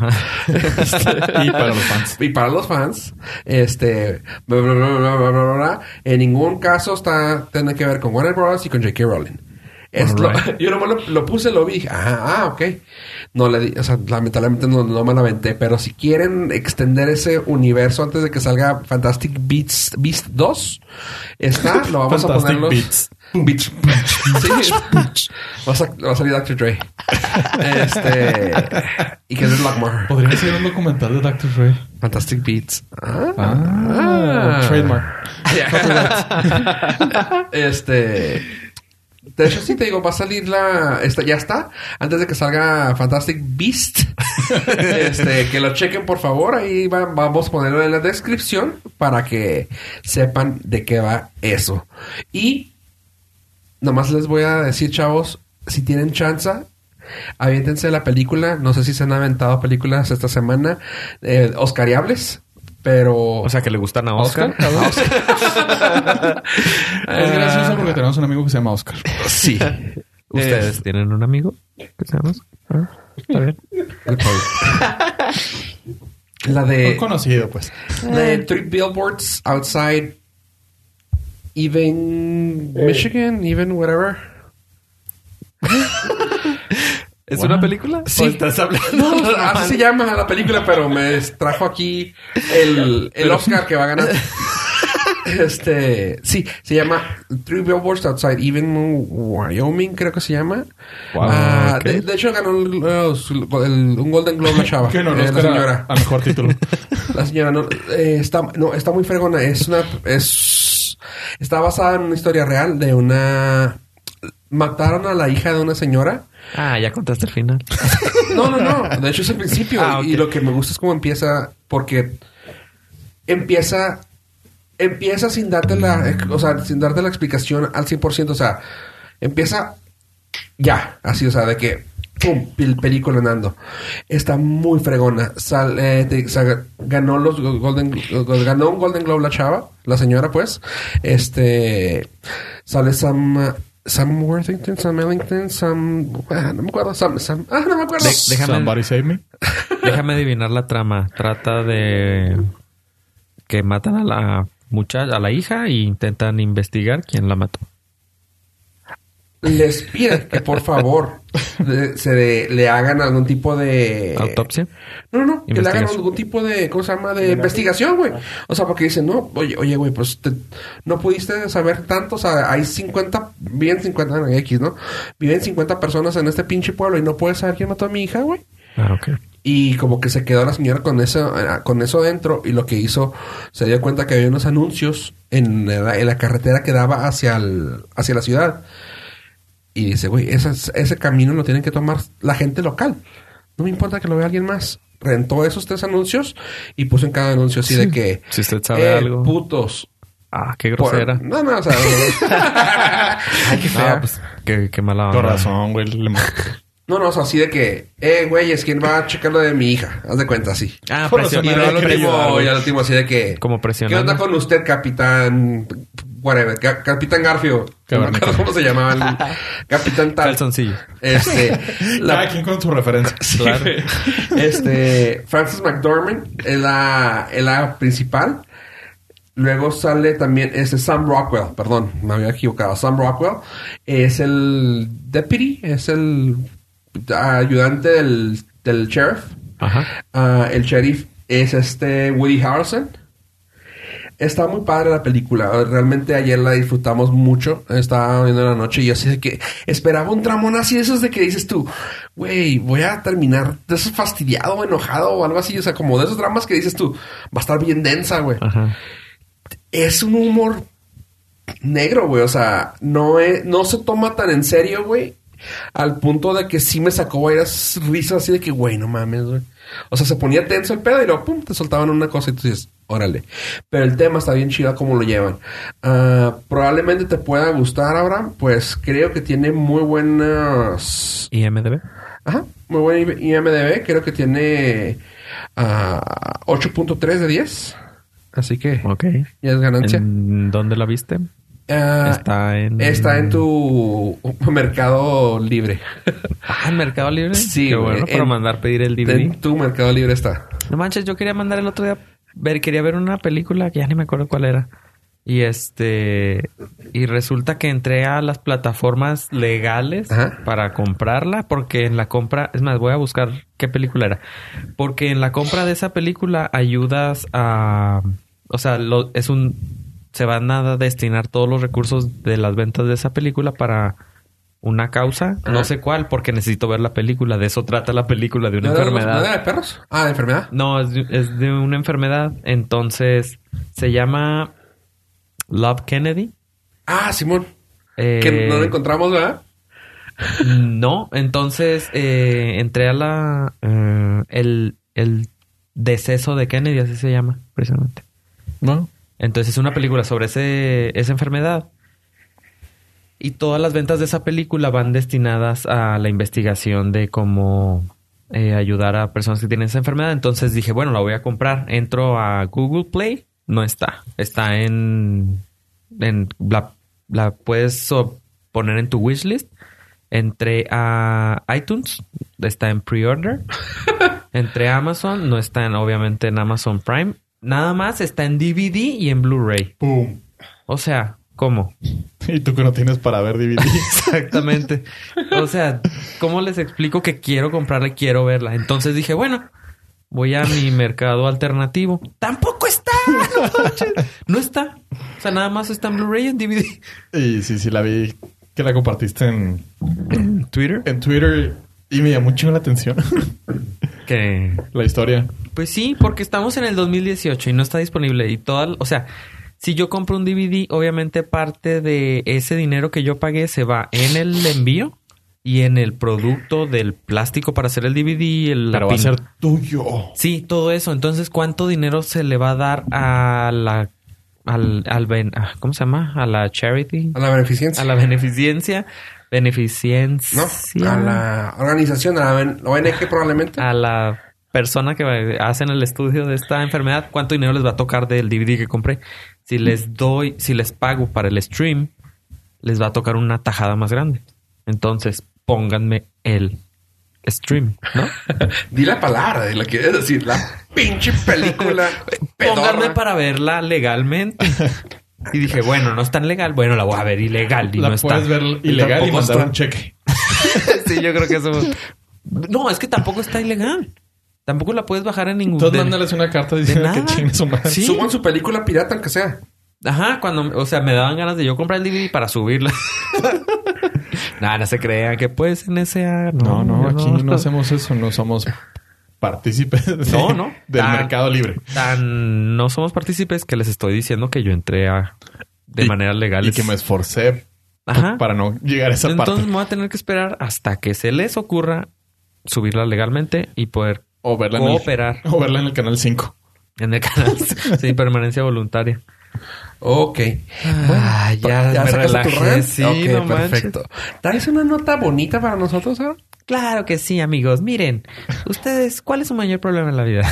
Este, Y para los fans. Y para los fans, este, bla, bla, bla, bla, bla, bla, bla, en ningún caso está tiene que ver con Warner Bros. y con J.K. Rowling. Es lo- Alright. yo nomás lo, lo puse, lo vi, dije, ah, ah, ok. No le di, o sea, lamentablemente no, no me la aventé, pero si quieren extender ese universo antes de que salga Fantastic Beasts Beast 2, está, lo vamos a Fantastic poner los Beasts. Beats. Sí. va, a, sa- va a salir Dr. Dre. Este, y que es Lockmore. Podría ser un documental de Dr. Dre. Fantastic Beats. Ah. Ah. Trademark. este. De hecho, sí te digo, va a salir la. Esta, ya está. Antes de que salga Fantastic Beast. este, que lo chequen, por favor. Ahí va- vamos a ponerlo en la descripción para que sepan de qué va eso. Y Nomás les voy a decir, chavos, si tienen chance, aviéntense la película. No sé si se han aventado películas esta semana, eh, Oscariables, pero. O sea, que le gustan a Oscar. Ah, Oscar. es gracioso porque tenemos un amigo que se llama Oscar. sí. ¿Ustedes tienen un amigo que se llama Oscar? Ah, está bien. la de. Un conocido, pues. La de Three Billboards Outside Even Michigan, Even whatever. ¿Es una película? Sí. ¿O estás hablando? No, así se llama la película, pero me trajo aquí el, el Oscar que va a ganar. Este, sí, se llama Three Billboards Outside Even Wyoming, creo que se llama. Wow, Ah, ok. de, de hecho, ganó el- los- el- un Golden Globe la chava. Que no, eh, Oscar la señora. a, a mejor título. La señora no, eh, está, no, está muy fregona. Es una, es, está basada en una historia real de una, mataron a la hija de una señora. Ah, ya contaste el final. No, no, no. De hecho es el principio. Ah, ok. Y lo que me gusta es cómo empieza, porque empieza, empieza sin darte la, o sea, sin darte la explicación al 100%. O sea, empieza ya, así, o sea, de que, pum, pel- película andando. Está muy fregona. Sal- eh, te- sa- ganó los Golden, ganó un Golden Globe la chava, la señora, pues. Este, sale Sam Sam Worthington, Sam Ellington, Sam. ah, no me acuerdo. Sam. Sam ah, no me acuerdo. De- déjame- Somebody save me. Déjame adivinar la trama. Trata de que matan a la muchacha, a la hija, e intentan investigar quién la mató. Les pido que por favor le- se de- le hagan algún tipo de. Autopsia. No, no, que le hagan Investigación. algún tipo de, ¿cómo se llama? De investigación, güey. O sea, porque dicen, no, oye, oye, güey, pues te- no pudiste saber tanto. O sea, hay 50, viven 50 en X, ¿no? Viven 50 personas en este pinche pueblo y no puedes saber quién mató a mi hija, güey. Ah, ok. Y como que se quedó la señora con eso, eh, con eso dentro y lo que hizo, se dio cuenta que había unos anuncios en la, en la carretera que daba hacia, el- hacia la ciudad. Y dice, güey, esas- ese camino lo tienen que tomar la gente local. No me importa que lo vea alguien más. Rentó esos tres anuncios y puso en cada anuncio así de que... Si usted sabe "Eh, algo". putos. Ah, qué por-" grosera. No, no, o sea... Ay, qué Ah, pues, qué, qué mala onda. Con razón, güey. le ma- No, no, o sea, así de que... Eh, güey, es quien va a checar lo de mi hija. Haz de cuenta, así. Ah, Con presión- Y razón, ya al nadie quiere ayudar, último, güey. ya al último, así de que. Como ¿Qué presionando. onda con usted, capitán? Whatever, Ca- capitán Garfio. No me acuerdo cómo se llamaba el capitán tal. Calzoncillo. Este. Cada la- quien con su referencia. Claro. este. Francis McDormand es la, es la principal. Luego sale también este Sam Rockwell, perdón, me había equivocado. Sam Rockwell es el deputy, es el ayudante del, del sheriff. Ajá. Ah, el sheriff es este Woody Harrelson. Está muy padre la película. Realmente ayer la disfrutamos mucho. Estaba viendo la noche y yo así de que esperaba un tramón así de esos de que dices tú, güey, voy a terminar de esos fastidiado, o enojado o algo así. O sea, como de esos dramas que dices tú, va a estar bien densa, güey. Ajá. Es un humor negro, güey. O sea, no, es- no se toma tan en serio, güey. Al punto de que sí me sacó varias risas así de que, güey, no mames, güey. O sea, se ponía tenso el pedo y luego, pum, te soltaban una cosa y tú dices, órale. Pero el tema está bien chido como lo llevan. Ah, probablemente te pueda gustar, Abraham. Pues creo que tiene muy buenas... IMDB. Ajá, muy buen IMDB. Creo que tiene ah, 8.3 de 10. Así que Ok. ya es ganancia. ¿En ¿Dónde la viste? Ah, Está en- Está en tu mercado libre. Ah, en Mercado Libre. Sí, Qué güey. bueno. Para En- mandar pedir el DVD. En tu mercado libre está. No manches, yo quería mandar el otro día ver, quería ver una película que ya ni me acuerdo cuál era. Y este y resulta que entré a las plataformas legales Ajá. para comprarla porque en la compra, es más, voy a buscar qué película era. Porque en la compra de esa película ayudas a o sea, lo- es un se van a destinar todos los recursos de las ventas de esa película para una causa, Ajá. no sé cuál, porque necesito ver la película, de eso trata la película de una ¿No era de los- enfermedad. ¿No era de perros? Ah, de enfermedad. No, es de, es de una enfermedad. Entonces, se llama Love Kennedy. Ah, Simón. Eh, Que no lo encontramos, ¿verdad? no, entonces eh, entré a la... eh, el, el deceso de Kennedy, así se llama, precisamente. No. Entonces es una película sobre ese, esa enfermedad. Y todas las ventas de esa película van destinadas a la investigación de cómo eh, ayudar a personas que tienen esa enfermedad. Entonces dije, bueno, la voy a comprar. Entro a Google Play. No está. Está en... en la, la puedes so- poner en tu wishlist. Entré a iTunes. Está en pre-order. Entré a Amazon, no está en, obviamente en Amazon Prime. Nada más está en DVD y en Blu-ray. Pum. O sea, ¿cómo? Y tú que no tienes para ver DVDs. Exactamente. O sea, ¿cómo les explico que quiero comprarla y quiero verla? Entonces dije, bueno, voy a mi mercado alternativo. Tampoco está. no manches. No está. O sea, nada más está en Blu-ray y en DVD. y sí, sí, la vi. Que la compartiste en, Twitter. en Twitter. Y me llamó mucho la atención. Que la historia. Pues sí, porque estamos en el 2018 y no está disponible. Y toda, o sea, si yo compro un DVD, obviamente parte de ese dinero que yo pagué se va en el envío y en el producto del plástico para hacer el DVD. El, la Pero va a pin- ser tuyo. Sí, todo eso. Entonces, ¿cuánto dinero se le va a dar a la. Al, al ben- ah, ¿Cómo se llama? A la charity. A la beneficencia. A la beneficencia. Beneficencia. Ah. No, a la organización, a la ben- ONG probablemente. a la persona que hacen el estudio de esta enfermedad, cuánto dinero les va a tocar del DVD que compré. Si les doy, si les pago para el stream, les va a tocar una tajada más grande. Entonces, pónganme el stream, ¿no? Di la palabra, di la que quieres decir, la pinche película. Pónganme pedorra. para verla legalmente. Y dije, bueno, no es tan legal. Bueno, la voy a ver ilegal y la no está. puedes ver ilegal y Tampoco mandar está. un cheque. Sí, yo creo que eso. No, es que tampoco está ilegal. Tampoco la puedes bajar en ningún. Entonces de- mándales una carta diciendo que nada. chingue su madre. Sí. Suban su película pirata, aunque sea. Ajá, cuando, o sea, me daban ganas de yo comprar el DVD para subirla. Nada, no se crean que pues en ese No, no, aquí no hacemos eso, no somos partícipes de- No, no. del Ah. mercado libre. Tan no somos partícipes que les estoy diciendo que yo entré a de Y- manera legal. Y que me esforcé Ajá. para no llegar a esa Entonces parte. me voy a tener que esperar hasta que se les ocurra subirla legalmente y poder O verla, en el, cooperar o verla en el canal 5. en el canal sin permanencia voluntaria. Ok. Ah, ya, me sacaste tu relajé. rant? Sí, Ok, no manches. perfecto. ¿Traes una nota bonita para nosotros ¿eh? ahora? Claro que sí, amigos. Miren, ustedes, ¿cuál es su mayor problema en la vida?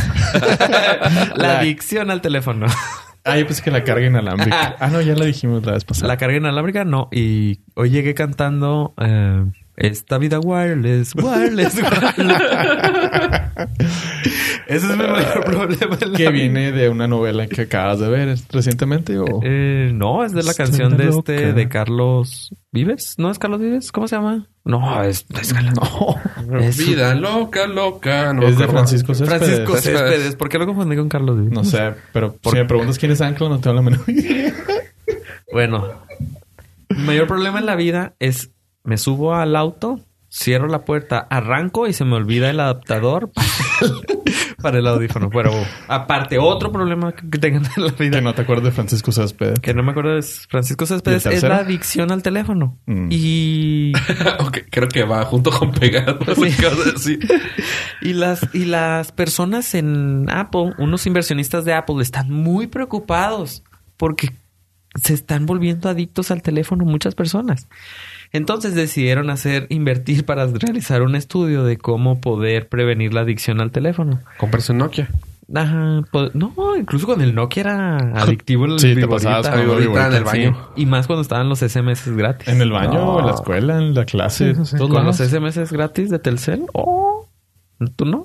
la La- adicción al teléfono. Ah, yo pensé que la carga inalámbrica. Ah, no, ya la dijimos la vez pasada. la carga inalámbrica, no. Y hoy llegué cantando eh, Esta vida wireless, wireless, wireless. Ese es mi mayor problema. en la Que vida. viene de una novela que acabas de ver recientemente o... Eh, no, es de la Está canción de loca. este, de Carlos Vives. ¿No es Carlos Vives? ¿Cómo se llama? No, es, es Carlos. No. Es Vida loca, loca. es No me de acuerdo. Francisco Céspedes. Francisco Céspedes. Céspedes. ¿Por qué lo confundí con Carlos Vives? No sé, pero si me preguntas quién es Ancla, no tengo la menor idea. Bueno, mi mayor problema en la vida es me subo al auto, cierro la puerta, arranco y se me olvida el adaptador para el, para el audífono. Pero aparte, otro problema que tengan en la vida Que no te acuerdas de Francisco Céspedes. que no me acuerdo es Francisco Céspedes ¿Y el es tercero? la adicción al teléfono. Mm. Y Ok, creo que va junto con pegado. acabas de decir. Y las, y las personas en Apple, unos inversionistas de Apple, están muy preocupados porque se están volviendo adictos al teléfono muchas personas. Entonces decidieron hacer invertir para realizar un estudio de cómo poder prevenir la adicción al teléfono. Comprarse un Nokia. Ajá, po- no, incluso con el Nokia era adictivo el Sí, te viborita. pasabas con Ah, el ahorita viborita, en el sí. baño. Y más cuando estaban los SMS gratis. En el baño, No. en la escuela, en la clase. todos Con los lados. SMS gratis de Telcel. Oh, ¿tú no?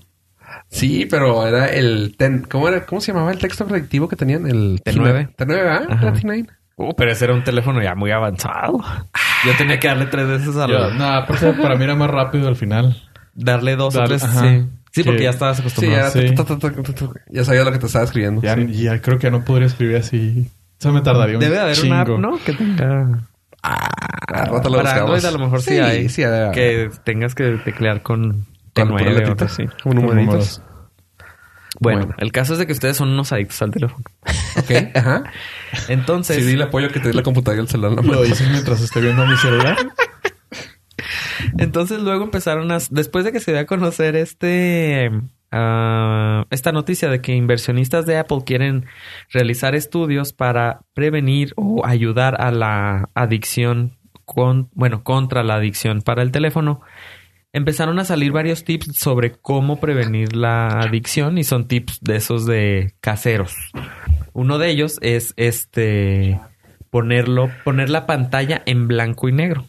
Sí, pero era el... Ten, ¿cómo, era, ¿Cómo se llamaba el texto predictivo que tenían? El... ¿ah? T9. T9, ¿verdad? Ajá. La T9. Uh, pero ese era un teléfono ya muy avanzado. Yo tenía que darle tres veces a Yo, la- nah, por eso para mí era más rápido al final. darle dos Darle- o tres. ajá. sí. Sí, Que- porque ya estabas Sí, acostumbrado. ya, Sí. ta, ta, ta, ta, ta, ta. ya sabía lo que te estaba escribiendo. Ya, Sí. ya creo que no podría escribir así. Eso me tardaría un Debe de haber chingo. una app, ¿no? Que tenga. Al Ah, rato lo Ah, Para buscamos. Android a lo mejor sí, sí hay. Sí, debe haber. que tengas que teclear con. T9 Con puras o algo letitas, así. Con Con numeritos. números. Bueno, Bueno. el caso es de que ustedes son unos adictos al teléfono. Ok, ajá. Entonces, Sí, di el apoyo que te di la computadora y el celular. en la mano. Lo dices mientras estoy viendo mi celular. entonces luego empezaron a. Después de que se dio a conocer este. ah, esta noticia de que inversionistas de Apple quieren realizar estudios para prevenir o ayudar a la adicción con, bueno, contra la adicción para el teléfono. Empezaron a salir varios tips sobre cómo prevenir la adicción y son tips de esos de caseros. Uno de ellos es este ponerlo poner la pantalla en blanco y negro.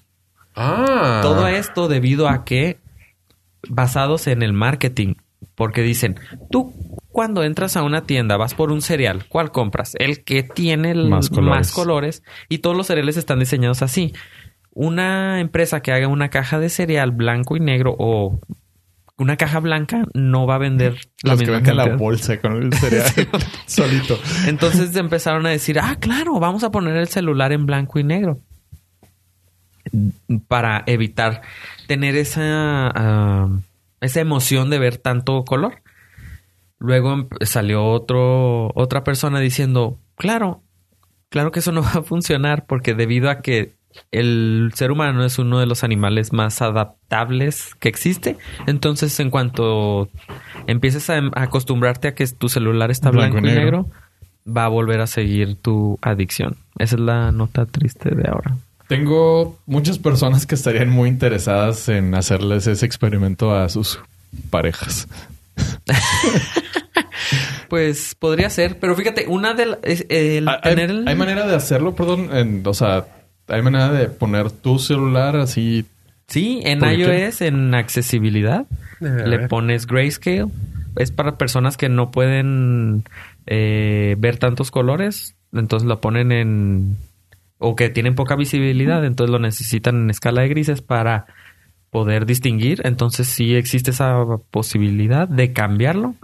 Ah. Todo esto debido a que basados en el marketing, porque dicen, tú cuando entras a una tienda vas por un cereal, ¿cuál compras? El que tiene el- más, colores. Más colores. y todos los cereales están diseñados así. Una empresa que haga una caja de cereal blanco y negro o una caja blanca no va a vender la Los que misma venden la cantidad. bolsa con el cereal solito. Entonces empezaron a decir, ah, claro, vamos a poner el celular en blanco y negro. Para evitar tener esa, ah, esa emoción de ver tanto color. Luego em- salió otro, otra persona diciendo, claro, claro que eso no va a funcionar porque debido a que el ser humano es uno de los animales más adaptables que existe, entonces en cuanto empieces a em- a acostumbrarte a que tu celular está blanco, y negro, va a volver a seguir tu adicción. Esa es la nota triste de ahora. Tengo muchas personas que estarían muy interesadas en hacerles ese experimento a sus parejas. Pues podría ser, pero fíjate, una de la- es el Ah, ¿Hay, tener el- hay manera de hacerlo, perdón, en- o sea, ¿Hay manera de poner tu celular así? Sí, en ¿Por qué? iOS, en accesibilidad, Debe le haber. pones grayscale. Es para personas que no pueden eh, ver tantos colores, entonces lo ponen en... o que tienen poca visibilidad, entonces lo necesitan en escala de grises para poder distinguir. Entonces sí existe esa posibilidad de cambiarlo.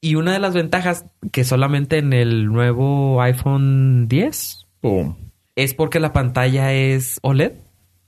Y una de las ventajas que solamente en el nuevo iPhone 10 ¡Pum! es porque la pantalla es OLED.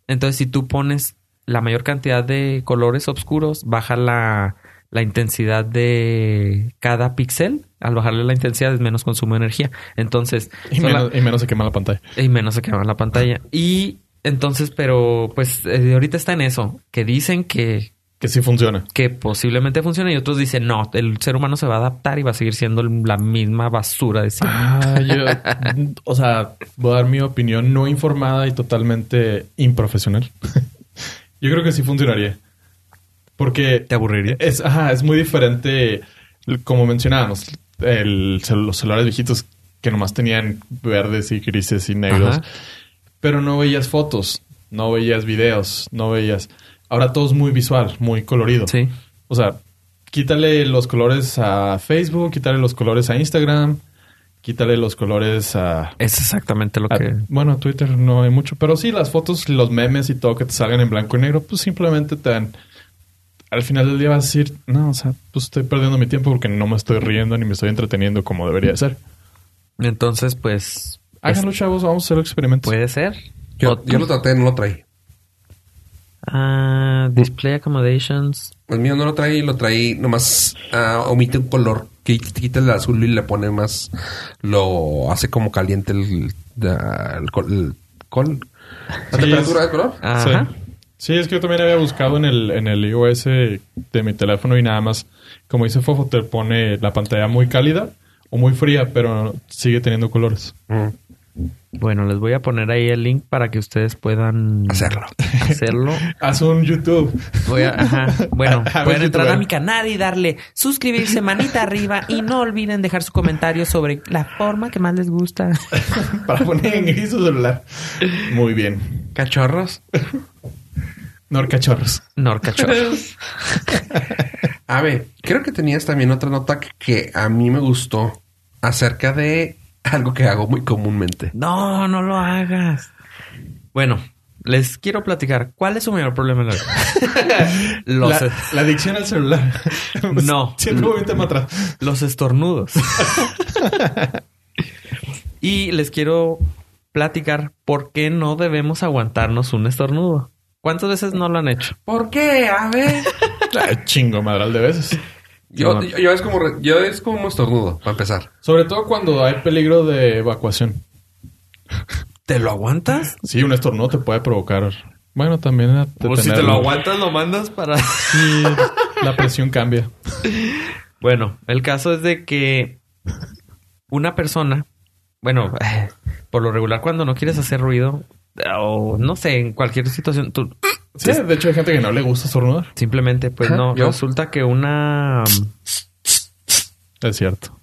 Entonces, si tú pones la mayor cantidad de colores oscuros, baja la, la intensidad de cada píxel. Al bajarle la intensidad es menos consumo de energía. Entonces, Y sola- menos, y menos se quema la pantalla. y menos se quema la pantalla. Y entonces, pero pues eh, ahorita está en eso, que dicen que, Que sí funciona. que posiblemente funcione y otros dicen, no, el ser humano se va a adaptar y va a seguir siendo la misma basura de siempre. Ah, yo- o sea, voy a dar mi opinión no informada y totalmente improfesional. yo creo que sí funcionaría. Porque... ¿Te aburriría? Es, ajá, es muy diferente, como mencionábamos, el cel- los celulares viejitos que nomás tenían verdes y grises y negros, Ajá. pero no veías fotos, no veías videos, no veías... Ahora todo es muy visual, muy colorido. Sí. O sea, quítale los colores a Facebook, quítale los colores a Instagram, quítale los colores a... Es exactamente lo a- que... bueno, a Twitter no hay mucho, pero sí las fotos, los memes y todo que te salgan en blanco y negro, pues simplemente te dan... Al final del día vas a decir, no, o sea, pues estoy perdiendo mi tiempo porque no me estoy riendo ni me estoy entreteniendo como debería de ser. Entonces, pues... Háganlo, chavos, vamos a hacer experimentos. Puede ser. Yo, O- yo lo traté, no lo traí. Ah, display accommodations. El Pues mío no lo traí, lo traí nomás ah, omite un color. qui- Quita el azul y le pone más. Lo hace como caliente el. da- el col, el col- Sí, la temperatura es- del color. Ajá. Sí. Sí, es que yo también había buscado en el, en el iOS de mi teléfono y nada más, como dice Fofo, te pone la pantalla muy cálida o muy fría, pero sigue teniendo colores. Mm. Bueno, les voy a poner ahí el link para que ustedes puedan Hacerlo. hacerlo. Haz un YouTube. Voy a- ajá. Bueno, A- a pueden ver, entrar a mi youtuber. Mi canal y darle suscribirse, manita arriba y no olviden dejar su comentario sobre la forma que más les gusta. Para poner en gris su celular. Muy bien. Cachorros. Norcachorros. Norcacho. A ver, creo que tenías también otra nota que, que a mí me gustó acerca de algo que hago muy comúnmente. No, no lo hagas. Bueno, les quiero platicar. ¿Cuál es su mayor problema en la vida? los, La, la adicción al celular. No. Siempre voy un tema atrás. Los estornudos. y les quiero platicar por qué no debemos aguantarnos un estornudo. ¿Cuántas veces no lo han hecho? ¿Por qué? A ver. Ah, Chingo madral de veces. Yo, yo, yo es como re- yo es como un estornudo, para empezar. Sobre todo cuando hay peligro de evacuación. ¿Te lo aguantas? Sí, un estornudo te puede provocar. Bueno, también. a- O si te tener- lo aguantas, lo mandas para. Sí, la presión cambia. Bueno, el caso es de que una persona, bueno, por lo regular, cuando no quieres hacer ruido, o no sé, en cualquier situación, tú Sí, de hecho hay gente que no le gusta estornudar. simplemente, pues Ajá, no, yo. resulta que una. Es cierto.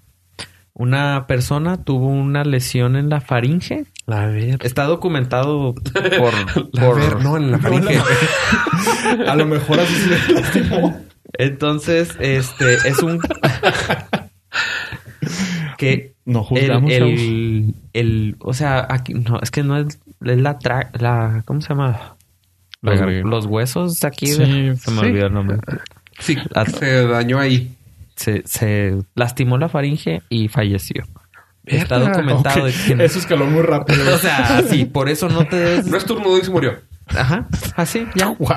Una persona tuvo una lesión en la faringe. A ver. Está documentado por... La por- ver, no, en la faringe. A lo mejor así se le lastimó. Entonces, este es un... que No el, juzgamos. chavos. el, el- O sea, aquí... No, es que no es, es la, tra- la... ¿Cómo se llama? La Los, garganta. los huesos de aquí. Sí, se me sí. olvidó el nombre. Sí, La- se dañó ahí. Se, se lastimó la faringe y falleció. Está Verga. documentado. Ok, de que- Eso escaló muy rápido. O sea, sí, por eso no te debes... No estornudó y se murió. Ajá, Ah, así, ya. Wow.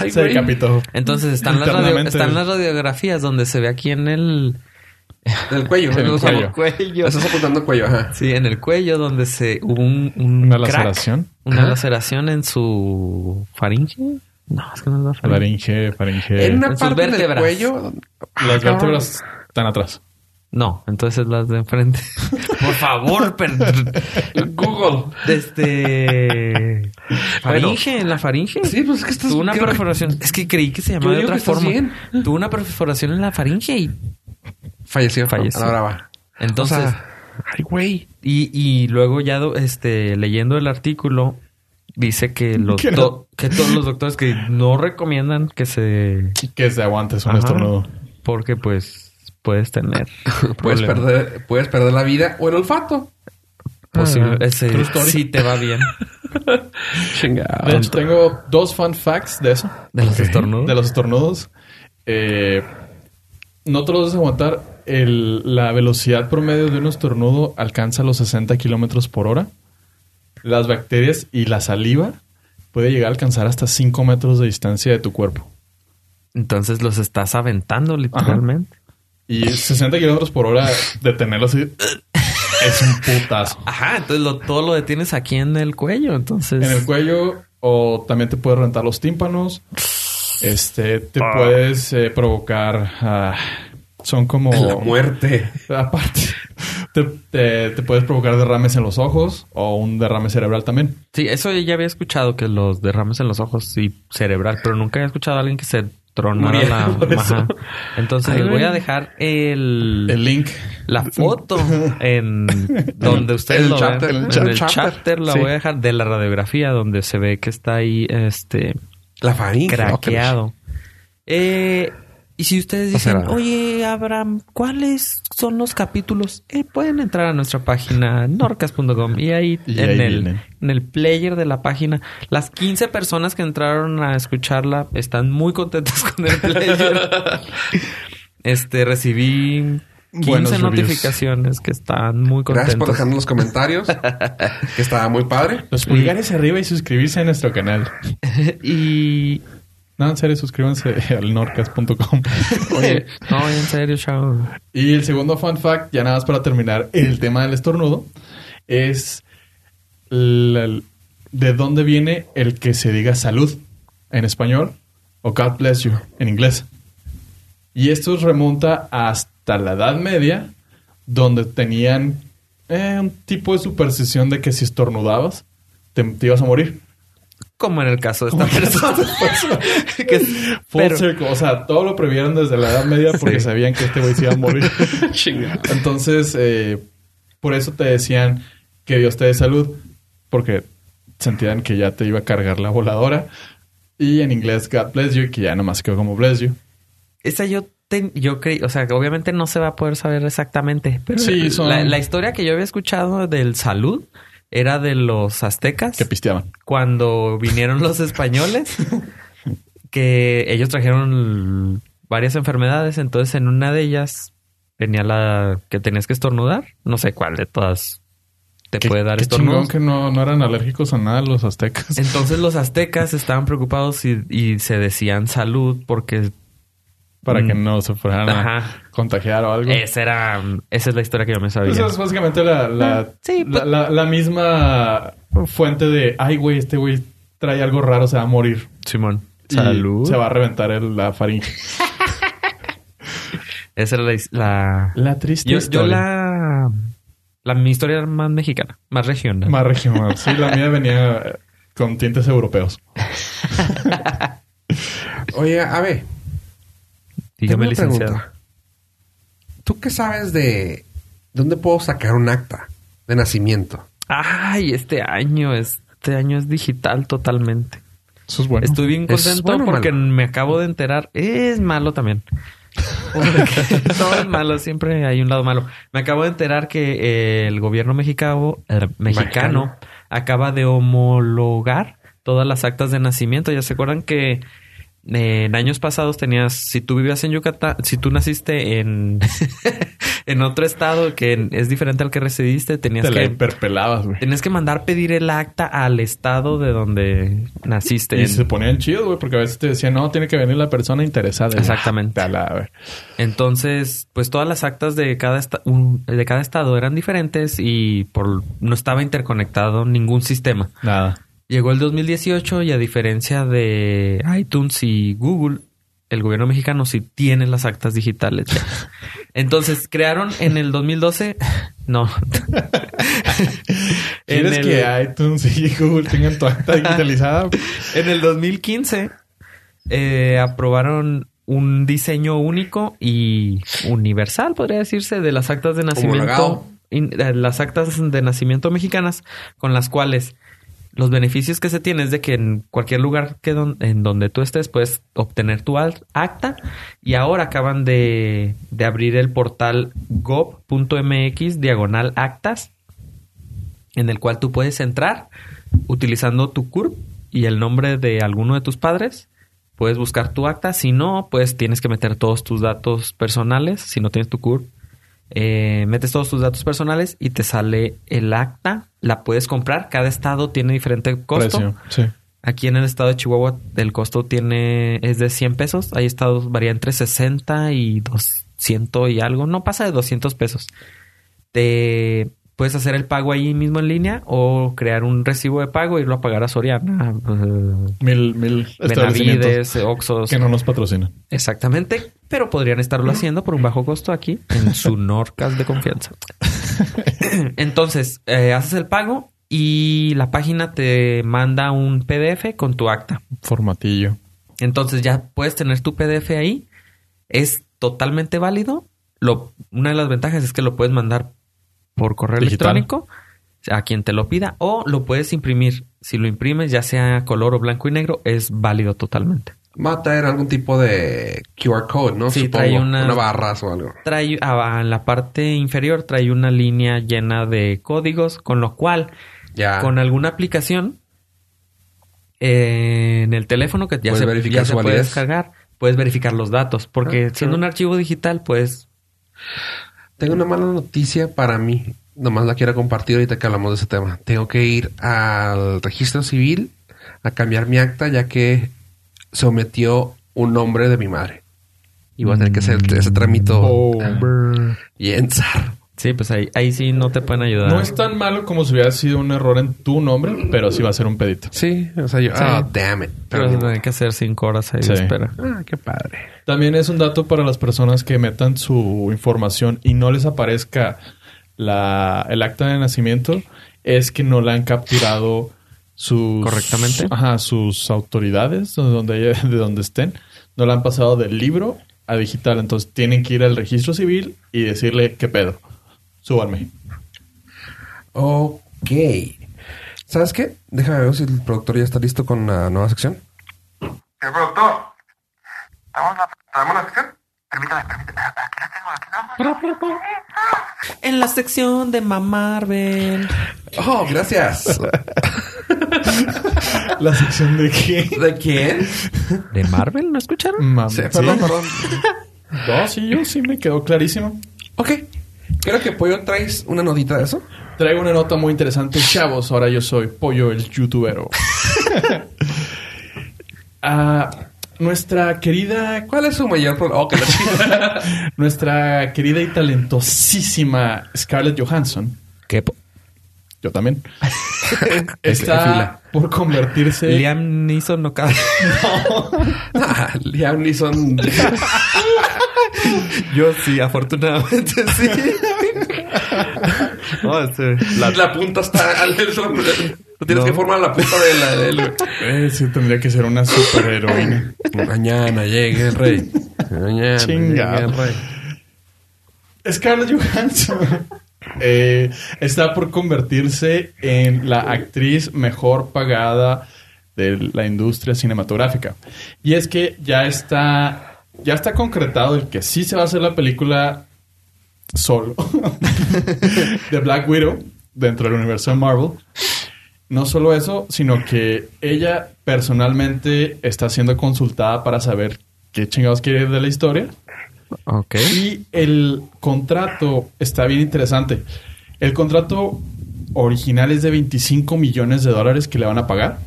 Ay, se güey. decapitó. Entonces están las, radio- Internamente. están las radiografías donde se ve aquí en el, Del cuello. En el Los cuello. amo. Estás apuntando el cuello, ajá. Sí, en el cuello donde se hubo un, un Una crack, laceración. una Ajá. laceración en su faringe. No, es que no es la faringe. Laringe, faringe. En una en sus parte del vértebras. cuello. Eh, ah, Las vértebras están atrás. No, entonces las de enfrente. Por favor, per... Google. este faringe, en la faringe. Sí, pues es que estás. Tuvo una creo que- perforación. Es que creí que se llamaba Yo de digo otra que estás forma. bien. Tuvo una perforación en la faringe y Falleció. Falleció. A la brava. entonces O sea- Ay, güey. Y, y luego ya do- este, leyendo el artículo, dice que, los Que no. do- que todos los doctores que no recomiendan que se... Que se aguantes un Ajá. estornudo. Porque pues puedes tener... Puedes problemas. perder, puedes perder la vida o el olfato. Posible. ese- Ah, True story. sí te va bien. Chingado. De hecho, tengo dos fun facts de eso. De los estornudos. De los estornudos. Eh, no te los vas a aguantar. El- la velocidad promedio de un estornudo alcanza los 60 kilómetros por hora. Las bacterias y la saliva puede llegar a alcanzar hasta 5 metros de distancia de tu cuerpo. Entonces los estás aventando literalmente. Y 60 kilómetros por hora detenerlo así es un putazo. Ajá, entonces lo- todo lo detienes aquí en el cuello. Entonces... En el cuello o también te puede rentar los tímpanos. Este, te puedes eh, provocar... ah, son como... La muerte. Aparte, te, te- te puedes provocar derrames en los ojos o un derrame cerebral también. Sí, eso ya había escuchado que los derrames en los ojos y cerebral, pero nunca había escuchado a alguien que se tronara Muriera la. por eso. Ajá. Entonces Ay, les voy güey. a dejar el, El link. la foto en donde ustedes el lo chapter, vean. el en el chapter. chapter la Sí. voy a dejar de la radiografía donde se ve que está ahí este La faringe. craqueado. Eh, Y si ustedes O sea, dicen, nada. oye, Abraham, ¿cuáles son los capítulos? eh, pueden entrar a nuestra página norcas.com y ahí, Y en, ahí el, vienen. en el player de la página, las 15 personas que entraron a escucharla están muy contentas con el player. este, recibí 15 Buenos reviews. notificaciones que están muy Gracias contentas. por dejarnos los comentarios. que estaba muy padre. Los pulgares arriba y suscribirse a nuestro canal. y No, en serio, suscríbanse al norcas.com. Oye, no, en serio, chao. Y el segundo fun fact, ya nada más para terminar el tema del estornudo, es la- de dónde viene el que se diga salud en español o God bless you en inglés. Y esto remonta hasta la Edad Media, donde tenían eh, un tipo de superstición de que si estornudabas, te, te ibas a morir. Como en el caso de esta persona. Que- Full pero- circle. O sea, todo lo previeron desde la Edad Media porque sabían que este güey se iba a morir. Entonces, eh, por eso te decían que Dios te dé salud, porque sentían que ya te iba a cargar la voladora. Y en inglés, God bless you, que ya nomás quedó como bless you. Esa yo ten- yo creí, o sea, que obviamente no se va a poder saber exactamente, pero Sí, son- la, la historia que yo había escuchado del salud era de los aztecas Que pisteaban. cuando vinieron los españoles, que ellos trajeron varias enfermedades, entonces en una de ellas venía la que tenías que estornudar, no sé cuál de todas te Qué- puede dar qué estornudos. chingón que no, no eran alérgicos a nada los aztecas. Entonces los aztecas estaban preocupados y, y se decían salud porque Para que Mm. no se fueran Ajá. Eh, a contagiar o algo. esa era esa es la historia que yo me sabía. Esa es básicamente la, la, Sí, la, pues- la- la misma fuente de, ay, güey, este güey trae algo raro, se va a morir. Simón. Y Salud. Se va a reventar el- la faringe. Esa era la... his- la- La triste Yo, yo la... La mi historia era más mexicana, más regional. Más regional. Sí, la mía venía eh, con tintes europeos. Oye, a ver. Dígame, tengo una licenciado. pregunta. ¿Tú qué sabes de dónde puedo sacar un acta de nacimiento? Ay, este año, este año es digital totalmente. Eso es bueno. Estoy bien ¿Es contento bueno o porque malo? me acabo de enterar. Es malo también. Porque todo es malo, siempre hay un lado malo. Me acabo de enterar que eh, el gobierno mexicano, eh, mexicano Mexicano. acaba de homologar todas las actas de nacimiento. Ya se acuerdan que eh, en años pasados tenías, si tú vivías en Yucatán, si tú naciste en, en otro estado que es diferente al que residiste, tenías Te la que hiperpelabas, güey. Tenías que mandar pedir el acta al estado de donde naciste. Y se ponían chidos, güey, porque a veces te decían, no, tiene que venir la persona interesada. Exactamente. Ah, tala, güey. Entonces, pues todas las actas de cada, esta- un- de cada estado eran diferentes y por, no estaba interconectado ningún sistema. Nada. Llegó el 2018 y a diferencia de iTunes y Google, el gobierno mexicano sí tiene las actas digitales. ya. Entonces, crearon en el 2012... No. En ¿Quieres el- que iTunes y Google tengan tu acta digitalizada? En el 2015 eh, aprobaron un diseño único y universal, podría decirse, de las actas de nacimiento Homologado. in- eh, las actas de nacimiento mexicanas con las cuales los beneficios que se tiene es de que en cualquier lugar que don- en donde tú estés puedes obtener tu al- acta y ahora acaban de, de abrir el portal gov.mx diagonal actas en el cual tú puedes entrar utilizando tu CURP y el nombre de alguno de tus padres. Puedes buscar tu acta. Si no, pues tienes que meter todos tus datos personales. Si no tienes tu CURP, eh, metes todos tus datos personales y te sale el acta. La puedes comprar. Cada estado tiene diferente costo. Precio. Sí. Aquí en el estado de Chihuahua el costo tiene es de 100 pesos. Hay estados varía entre 60 y 200 y algo. No pasa de 200 pesos. Te puedes hacer el pago ahí mismo en línea o crear un recibo de pago e irlo a pagar a Soriana, eh, Mil, mil establecimientos Benavides, Oxxos. que no nos patrocinan. Exactamente, pero podrían estarlo haciendo por un bajo costo aquí en su Norcas de confianza. Entonces, eh, haces el pago y la página te manda un PDF con tu acta. Formatillo. Entonces ya puedes tener tu PDF ahí. Es totalmente válido. Lo, una de las ventajas es que lo puedes mandar por correo Digital. electrónico a quien te lo pida o lo puedes imprimir. Si lo imprimes, ya sea color o blanco y negro, es válido totalmente. Va a traer algún tipo de QR code, ¿no? Sí, trae una- barra o algo. Trae ah, en la parte inferior trae una línea llena de códigos, con lo cual Ya. con alguna aplicación eh, en el teléfono que ya Puedes se, verificar ya su se puede validez. descargar, puedes verificar los datos, porque Ah, siendo claro. un archivo digital, pues Tengo una mala noticia para mí. Nomás la quiero compartir ahorita que hablamos de ese tema. Tengo que ir al registro civil a cambiar mi acta ya que se omitió un nombre de mi madre. Y voy a tener que hacer ese trámite Ah. y ensar. sí, pues ahí, ahí sí no te pueden ayudar. No es tan malo como si hubiera sido un error en tu nombre, pero sí va a ser un pedito. Sí, o sea, yo... Ah, damn it. pero Pero vas a ni modo. tener que hacer cinco horas ahí Sí. de espera. Ah, qué padre. También es un dato para las personas que metan su información y no les aparezca la, el acta de nacimiento, es que no la han capturado sus... Correctamente. Ajá, sus autoridades, o donde, haya- de donde estén, no la han pasado del libro a digital. Entonces tienen que ir al registro civil y decirle, ¿qué pedo? Súbanme. Ok. ¿Sabes qué? Déjame ver si el productor ya está listo con la nueva sección. Señor productor, ¿traemos la, ¿traemos la sección? Permítame, permítame. Aquí la tengo, aquí la tengo. En la sección de Mamarvel. Oh, gracias. ¿La sección de qué? ¿De quién? ¿De Marvel? ¿No escucharon? Mam- Sí, ¿sí? perdón, perdón. No, sí, yo sí me quedó clarísimo. Ok. Creo que Pollo traes una notita de eso. Traigo una nota muy interesante, chavos. Ahora yo soy Pollo el youtubero. Ah, nuestra querida ¿Cuál es su mayor problema? Oh, que la chica. nuestra querida y talentosísima Scarlett Johansson. ¿Qué? po- Yo también. Efila. está por convertirse Liam Neeson no cabe. Ah, Liam Neeson. Yo sí, afortunadamente sí. No, este, La, la punta está al Nelson. No No. tienes que formar la punta de la del. Eh, sí, tendría que ser una superheroína. Mañana llegue el rey. Mañana Chinga. llegue el rey. Scarlett Johansson eh, está por convertirse en la actriz mejor pagada de la industria cinematográfica. Y es que ya está, ya está concretado el que sí se va a hacer la película solo de Black Widow dentro del universo de Marvel. No solo eso, sino que ella personalmente está siendo consultada para saber qué chingados quiere de la historia. ok. Y el contrato está bien interesante. El contrato original es de 25 millones de dólares que le van a pagar,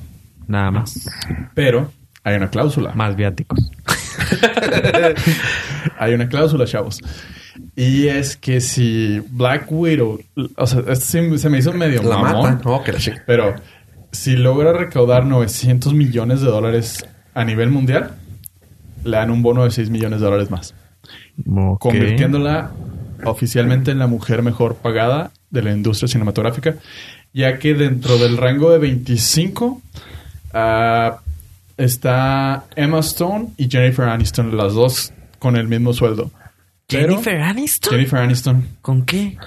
Nada más. pero hay una cláusula. Más viáticos. Hay una cláusula, chavos. Y es que si Black Widow, o sea, esto se se me hizo medio La mamón, mata. Oh, que la chica. pero si logra recaudar 900 millones de dólares a nivel mundial, le dan un bono de 6 millones de dólares más. Ok. convirtiéndola oficialmente en la mujer mejor pagada de la industria cinematográfica, ya que dentro del rango de 25 ah, está Emma Stone y Jennifer Aniston, las dos con el mismo sueldo. Pero- ¿Jennifer Aniston? Jennifer Aniston. ¿Con qué?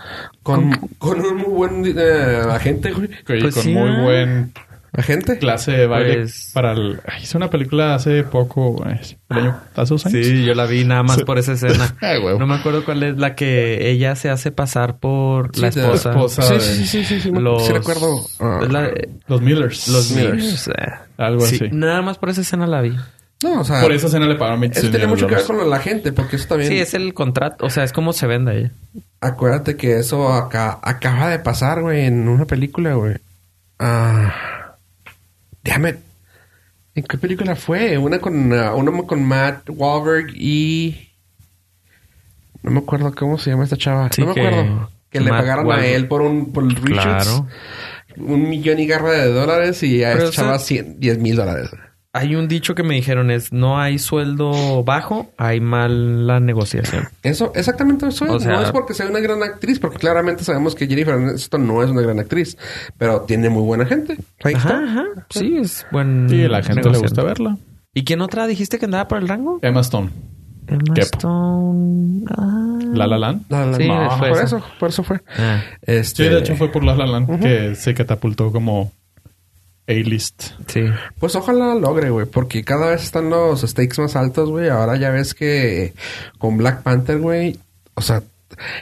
Con, con un muy buen eh, agente, güey. que- Pues con sí, muy ¿eh? buen ¿Agente? clase de baile Pues- para el... ay, hizo una película hace poco, eh, el año, hace dos años. Sí, Ah, yo la vi nada más por esa escena. Ay, huevo. No me acuerdo cuál es la que ella se hace pasar por la Sí, de la esposa. esposa. Sí, sí, sí, sí, sí, sí, me- Los- sí recuerdo. Ah. Es la- Los Millers. los Millers. Millers. eh. Algo Sí, así. Nada más por esa escena la vi. No, o sea, Por esa escena le pagaron 26 eso tiene millones mucho de que ver dólares. con la gente, porque eso también... Sí, es el contrato. O sea, es como se vende ella. Acuérdate que eso acá, acaba de pasar, güey, en una película, güey. Ah. Damn it. ¿En qué película fue? Una con, ah, una con Matt Wahlberg y. No me acuerdo cómo se llama esta chava. Sí, no me que- acuerdo. Que le Matt pagaron a Wahlberg. él por un por el reshoots. Claro. Un millón y garra de dólares y a Pero esta chava eso- 100, 10 mil dólares. Hay un dicho que me dijeron es no hay sueldo bajo, hay mala negociación. Eso, exactamente eso es. O sea- no es porque sea una gran actriz, porque claramente sabemos que Jennifer Aniston no es una gran actriz, pero tiene muy buena gente. Ahí Ajá, está. ajá. Sí, es buen. Sí, a la gente le negociante. gusta verla. ¿Y quién otra dijiste que andaba por el rango? Emma Stone. Emma Kepo. Stone. Ah. La La Land. No, no, Sí, no, fue por esa. eso, por eso fue. Ah. Este, Sí, de hecho fue por La La Land que se catapultó como A-list. Sí. Pues ojalá logre, güey, porque cada vez están los stakes más altos, güey. Ahora ya ves que con Black Panther, güey, o sea,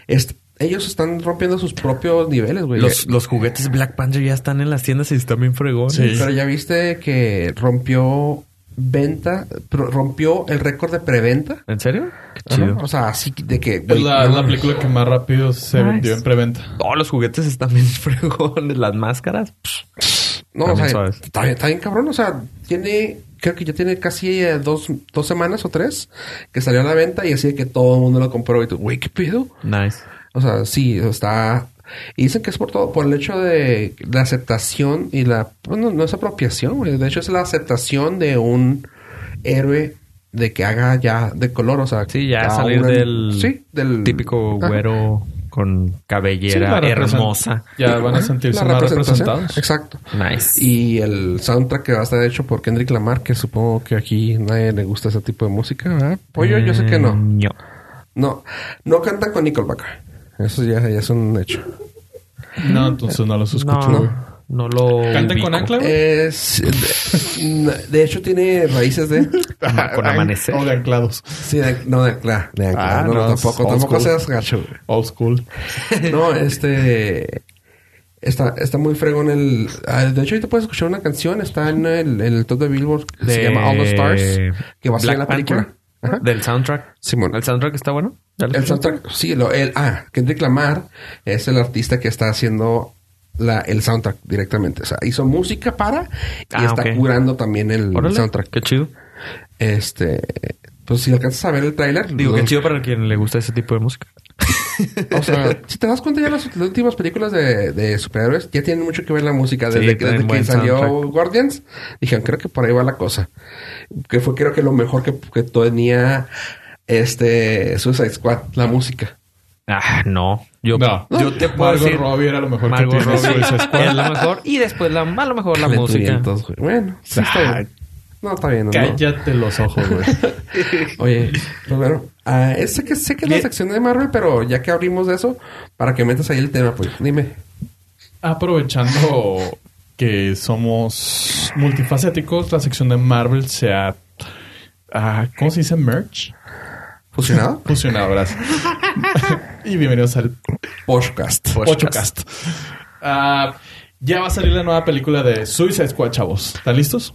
est- ellos están rompiendo sus propios niveles, güey. Los, los juguetes Black Panther ya están en las tiendas y están bien fregones. Pero ya viste que rompió venta, pro- rompió el récord de preventa. ¿En serio? Qué Ajá. chido. O sea, así de que... Es güey, la, no la mames. película que más rápido se vendió en preventa. Oh, los juguetes están bien fregones. Las máscaras. psh. No, o También sea, suaves. está bien, está bien cabrón. O sea, tiene, creo que ya tiene casi eh, dos, dos semanas o tres que salió a la venta y así de que todo el mundo lo compró y tú, güey, ¿qué pedo? Nice. O sea, sí, está. Y dicen que es por todo, por el hecho de la aceptación y la. Bueno, no es apropiación, güey. De hecho, es la aceptación de un héroe de que haga ya de color, o sea. Sí, ya cada salir una- del, Sí, del. típico Ajá. güero con Sí, cabellera la represent- hermosa. Ya van a Ajá, sentirse la más representación. representados. Exacto. Nice. Y el soundtrack que va a estar hecho por Kendrick Lamar, que supongo que aquí nadie le gusta ese tipo de música, ¿verdad? Pollo, yo sé que Eh, no. No, no canta con Nickelback. Eso ya, ya es un hecho. No, entonces no los escucho, güey. No, no lo. ¿Cantan ubico. con ancla, güey? Es, de, de hecho, tiene raíces de. Con amanecer. O de anclados. Sí, de, no, de claro, de Ah, no, no, tampoco, old tampoco school. seas gacho. güey. Old school. No, este. Está, está muy fregón el. ah, De hecho, ahorita puedes escuchar una canción. Está en el, en el top de Billboard. que Se De- llama All the Stars. Que va a ser Black en la película. Panther. Ajá. Del soundtrack. Simón. ¿El soundtrack está bueno? ¿Ya lo El escuchaste? soundtrack, sí, lo, el, ah, Kendrick Lamar es el artista que está haciendo la, el soundtrack directamente. O sea, hizo música para y Ah, está ok. curando también el Órale, soundtrack. Qué chido. Este, pues si alcanzas a ver el tráiler, Digo, lo- qué chido para quien le gusta ese tipo de música. O sea, si te das cuenta ya las últimas películas de, de superhéroes ya tienen mucho que ver la música desde, Sí, que- traen desde que buen salió soundtrack. Guardians. Dijeron, creo que por ahí va la cosa. Que fue creo que lo mejor que, que tenía este Suicide Squad, la música. Ah, no. Yo, No. yo te puedo Margot decir. Robbie era lo mejor Margot que tiene Robbie Suicide Squad. es lo mejor. Y después, la, a lo mejor, la música. Lentudientos, güey. Bueno, sí está bien. No, está bien. no. Cállate los ojos, güey. Oye, Romero, ah, es- sé, que, sé que es la sección de Marvel, pero ya que abrimos de eso, para que metas ahí el tema, pues dime. Aprovechando que somos multifacéticos, la sección de Marvel se ha... ah, ¿Cómo se dice? Merch. ¿Fusionado? Fusionado, gracias. y bienvenidos al Podcast. Pochocast. Ah, ya va a salir la nueva película de Suicide Squad, chavos. ¿Están listos?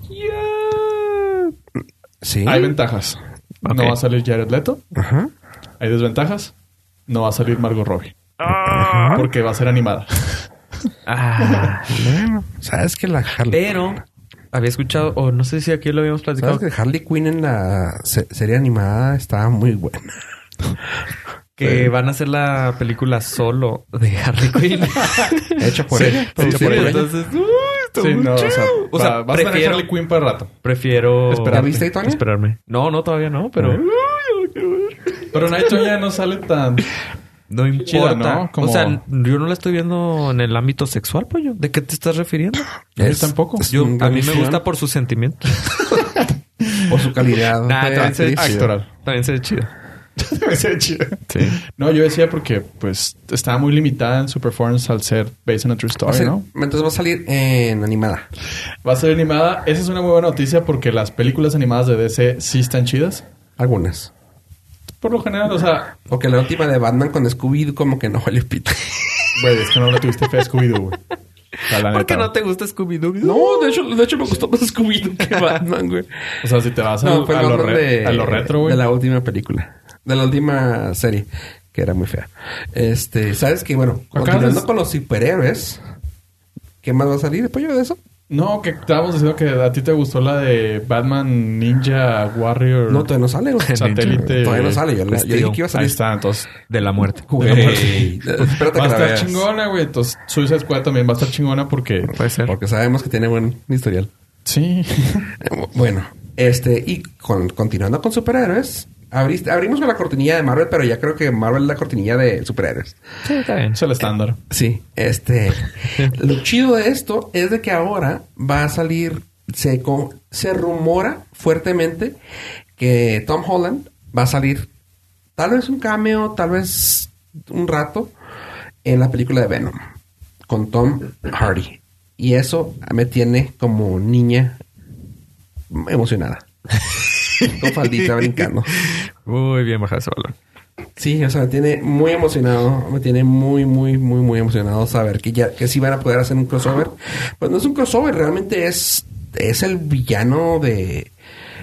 Sí. Hay ventajas. No va a salir Jared Leto. Ajá. Hay desventajas. No va a salir Margot Robbie. Porque va a ser animada. Ah, Bueno, sabes que la Harley. pero había escuchado, o no sé si aquí lo habíamos Sabes platicado, que Harley Quinn en la se- serie animada estaba muy buena. que van a hacer la película solo de Harley Quinn. Hecha por Sí, ella. sí, hecha sí, por ella. Entonces, uy, está Sí, muy no, o sea, chido. va, O sea, vas a tener prefiero- Harley Quinn para rato. Prefiero ¿Ya viste ahí, Toño? esperarme. No, no, todavía no, pero Pero Night ya no sale tan... no importa. Chida, ¿no? Como- O sea, yo no la estoy viendo en el ámbito sexual, pollo. ¿De qué te estás refiriendo? Yo tampoco. es Yo, un a gran mí me fan gusta por sus sentimientos. Por su calidad. Nah, de entonces- actriz. Actoral. También se ve chido. Debe ser chido. Sí. No, yo decía porque pues estaba muy limitada en su performance al ser based on a true Va a story, ser- ¿no? Entonces va a salir en animada. Va a ser animada. Esa es una muy buena noticia porque las películas animadas de DC sí están chidas. Algunas. Por lo general, o sea, Porque la última de Batman con Scooby como que no valió pito. güey, es que no le tuviste fe a Scooby-Doo, güey. O sea, la ¿Por qué neta, no te gusta Scooby-Doo? No, de hecho, de hecho me gustó más Scooby que Batman, güey. O sea, si te vas al- No, fue a, el lo Batman re- de, a lo retro, güey. de la última película. De la última serie, que era muy fea. Este, ¿sabes qué? Bueno, continuando de- con los superhéroes, ¿qué más va a salir después de eso? No, que estábamos diciendo que a ti te gustó la de Batman Ninja Warrior. No, todavía no sale, güey. Satélite. Todavía no sale. Yo, le- yo dije que iba a Ahí salir. está, entonces. De la muerte. Güey, pues, espérate Va a que la estar veas. chingona, güey. Entonces, Suicide Squad también va a estar chingona porque. Puede ser. Porque sabemos que tiene buen historial. Sí. Eh, Bueno, este, y con- continuando con superhéroes, abriste- abrimos con la cortinilla de Marvel, pero ya creo que Marvel es la cortinilla de superhéroes. Sí, está bien. es el estándar. Sí, este. lo chido de esto es de que ahora va a salir. Se, co- se rumora fuertemente que Tom Holland va a salir. Tal vez un cameo, tal vez un rato. En la película de Venom. Con Tom Hardy. Y eso me tiene como niña emocionada. con faldita brincando. Muy bien bajado ese balón. Sí, o sea, me tiene muy emocionado. Me tiene muy, muy, muy, muy emocionado saber que ya que sí van a poder hacer un crossover. Pues no es un crossover, realmente es, es el villano de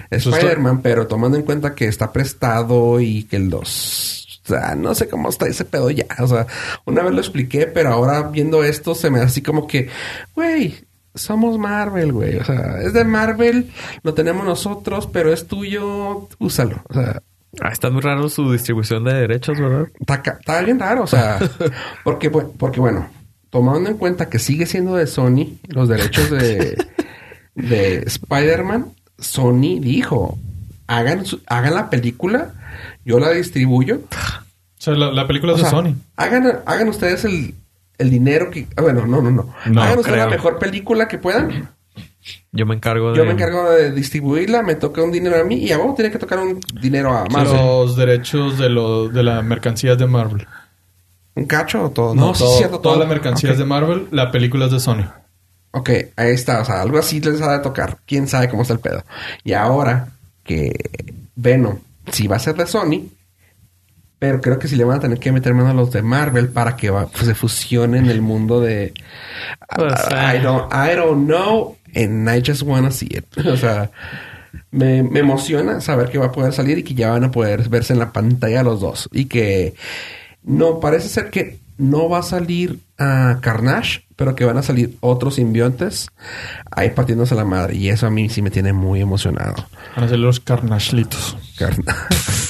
esto- Spider-Man, pero tomando en cuenta que está prestado y que el 2. O sea, no sé cómo está ese pedo ya. O sea, una vez lo expliqué, pero ahora viendo esto se me hace así como que, güey, somos Marvel, güey. O sea, es de Marvel, lo tenemos nosotros, pero es tuyo, úsalo. O sea, Ah, está muy raro su distribución de derechos, ¿verdad? Está, ca- está bien raro, o sea, porque, bu- porque bueno, tomando en cuenta que sigue siendo de Sony los derechos de, de Spider-Man, Sony dijo, hagan, su- hagan la película, yo la distribuyo. O sea, la, la película O es de sea, Sony. Hagan, hagan ustedes el, el dinero que... ah, Bueno, no, no, no. No, hagan ustedes la creo. mejor película que puedan. Yo me encargo de... Yo me encargo de distribuirla, me toca un dinero a mí y a vos tiene que tocar un dinero a más. Los derechos de, lo, de las mercancías de Marvel. ¿Un cacho o todo? sí, Todo- cierto, Todas todo. las mercancías Ok. de Marvel, la película es de Sony. Ok, ahí está. O sea, algo así les ha de tocar. Quién sabe cómo está el pedo. Y ahora que Venom sí va a ser de Sony, pero creo que sí le van a tener que meter mano a los de Marvel para que va- se fusionen en el mundo de. Pues, I, I don't, I don't know and I just wanna see it. O sea, me, me emociona saber que va a poder salir y que ya van a poder verse en la pantalla los dos. Y que no, parece ser que no va a salir a Carnage, pero que van a salir otros simbiontes ahí partiéndose la madre. Y eso a mí sí me tiene muy emocionado. Van a ser los carnachlitos. Carnage.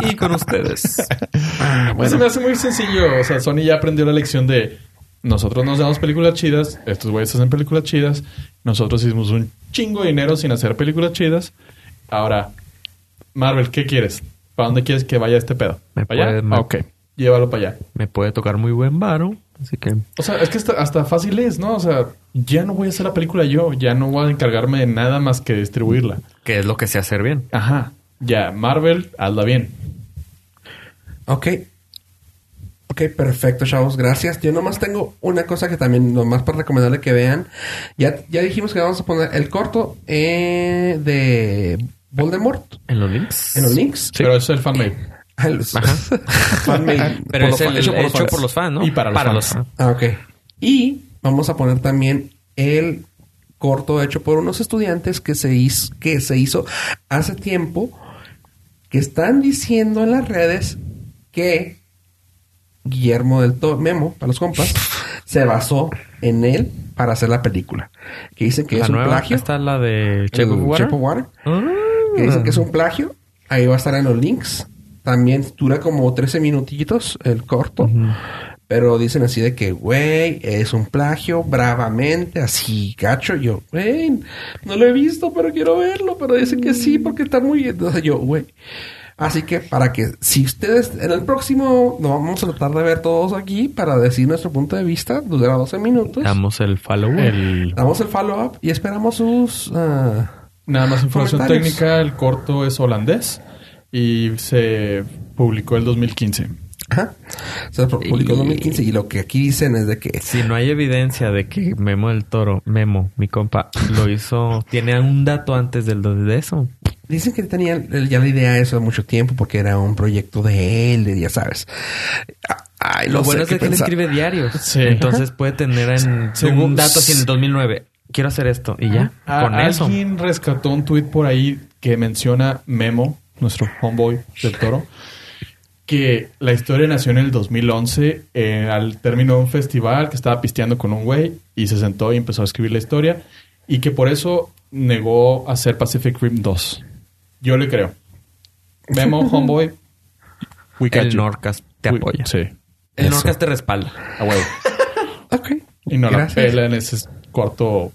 Y con ustedes. Se me hace muy sencillo. O sea, Sony ya aprendió la lección de nosotros nos damos películas chidas, estos güeyes hacen películas chidas, nosotros hicimos un chingo de dinero sin hacer películas chidas. Ahora, Marvel, ¿qué quieres? ¿Para dónde quieres que vaya este pedo? Me ¿Para allá? puede- me- Ah, ok, llévalo para allá. me puede tocar muy buen varo, así que... O sea, es que hasta, hasta fácil es, ¿no? O sea, ya no voy a hacer la película yo, ya no voy a encargarme de nada más que distribuirla. Que es lo que sé hacer bien. Ajá, ya, Marvel, hazla bien. Ok. Ok, perfecto, chavos. Gracias. Yo nomás tengo una cosa que también, nomás para recomendarle que vean. Ya, ya dijimos que vamos a poner el corto eh, de Voldemort En los links. en los links. Pero eso es el fanmate. Ah, los- Ajá. Fanmade. Pero Por es los el fa- hecho, por, los fans. fans, ¿no? Y para los fans. Ah, ok. Y vamos a poner también el corto hecho por unos estudiantes que se hizo, que se hizo hace tiempo, que están diciendo en las redes que Guillermo del Toro, Memo, para los compas, se basó en él para hacer la película. Que dicen que La es un nueva plagio. está la de Checo El Water. Shape of Water Ah. que dicen que es un plagio. Ahí va a estar en los links. También dura como 13 minutitos el corto. Pero dicen así de que, güey, es un plagio, bravamente, así, gacho. Yo, güey, no lo he visto, pero quiero verlo. Pero dicen que sí, porque está muy bien. Entonces yo, güey. Así que para que, si ustedes, en el próximo, nos vamos a tratar de ver todos aquí para decir nuestro punto de vista. Dura 12 minutos. Damos Pues, el follow. El- Damos el follow-up y esperamos sus... ah, Nada más información Comentarios. técnica, el corto es holandés y se publicó el 2015. Ajá. Se publicó en 2015 y lo que aquí dicen es de que Si no hay evidencia de que Memo del Toro, Memo, mi compa, lo hizo, tiene un dato antes del de eso. Dicen que tenía el- ya la idea de eso hace mucho tiempo porque era un proyecto de él, de- ya sabes. Ah, Ay, no lo sé bueno es qué que él pensar. escribe diarios. Sí. Entonces puede tener en Según- un dato así en el 2009. Quiero hacer esto y ya. A- Con eso. Ah, Alguien rescató un tuit por ahí que menciona Memo, nuestro homeboy del toro, que la historia nació en el 2011 eh, al término de un festival que estaba pisteando con un güey y se sentó y empezó a escribir la historia y que por eso negó hacer Pacific Rim 2. Yo le creo. Memo, homeboy, we got El you. Norcas te We- apoya. Sí, El Eso. Norcas te respalda. a huevo. Ok. Y no la Gracias. pela en ese cuarto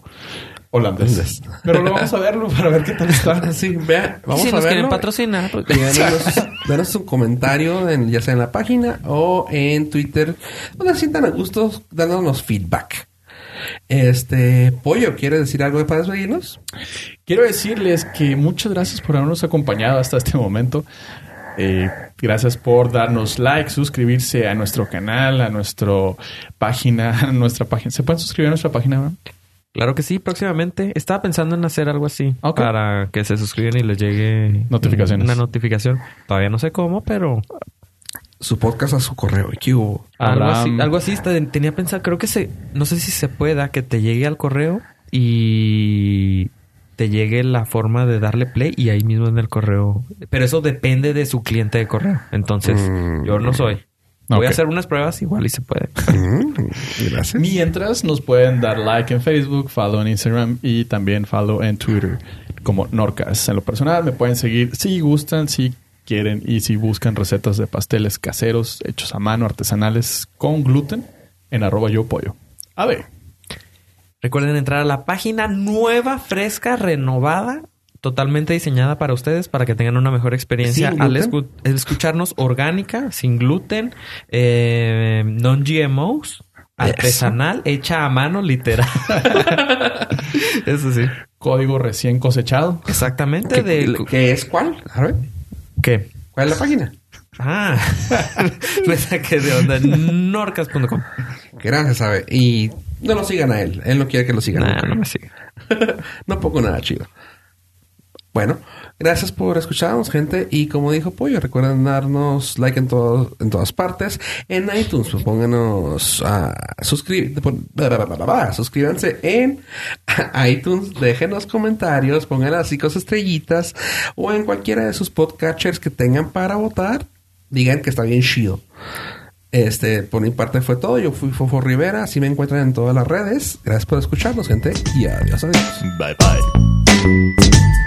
holandés. Pero lo vamos a verlo para ver qué tal está. Sí, vea, vamos si a nos quieren verlo. patrocinar, pues- Y danos, danos un comentario, en- ya sea en la página o en Twitter, donde se sientan a gusto dándonos feedback. Este, Pollo, ¿quieres decir algo para despedirnos? Quiero decirles que muchas gracias por habernos acompañado hasta este momento. Eh, gracias por darnos like, suscribirse a nuestro canal, a nuestra página, a nuestra página. ¿Se pueden suscribir a nuestra página? Abraham? Claro que sí, próximamente. Estaba pensando en hacer algo así Ok. para que se suscriban y les llegue Notificaciones. Una notificación. Todavía no sé cómo, pero Su podcast a su correo. ¿Qué hubo? Algo Abraham. así, algo así está- tenía pensado, creo que se, no sé si se pueda que te llegue al correo y te llegue la forma de darle play y ahí mismo en el correo. Pero eso depende de su cliente de correo. Entonces, Mm. yo no soy. Voy Ok. a hacer unas pruebas igual y se puede. Mm, Gracias. Mientras nos pueden dar like en Facebook, follow en Instagram y también follow en Twitter como Norcas. En lo personal me pueden seguir si gustan, si quieren y si buscan recetas de pasteles caseros hechos a mano, artesanales con gluten en arroba yo pollo. A ver. Recuerden entrar a la página nueva, fresca, renovada, totalmente diseñada para ustedes para que tengan una mejor experiencia Sin al gluten. escu- al escucharnos orgánica, sin gluten, eh, non GMOs, artesanal, hecha a mano, literal. Eso sí. código recién cosechado. Exactamente ¿Qué, de qué es cuál? A ver, qué. ¿Cuál es la página? Ah, me saqué de onda. Norcas.com. Gracias, sabe. Y no lo sigan a él. Él no quiere que lo sigan. Nah, no me sigue. no pongo nada chido. Bueno, gracias por escucharnos, gente. Y como dijo Pollo, recuerden darnos like en, todo- en todas partes. En iTunes, pues pónganos ah, a suscribir. Suscríbanse en iTunes, déjenos comentarios, pongan las cinco estrellitas o en cualquiera de sus podcatchers que tengan para votar. Digan que está bien chido. Este, por mi parte fue todo. Yo fui Fofo Rivera. Así me encuentran en todas las redes. Gracias por escucharnos, gente. Y adiós, adiós. Bye bye.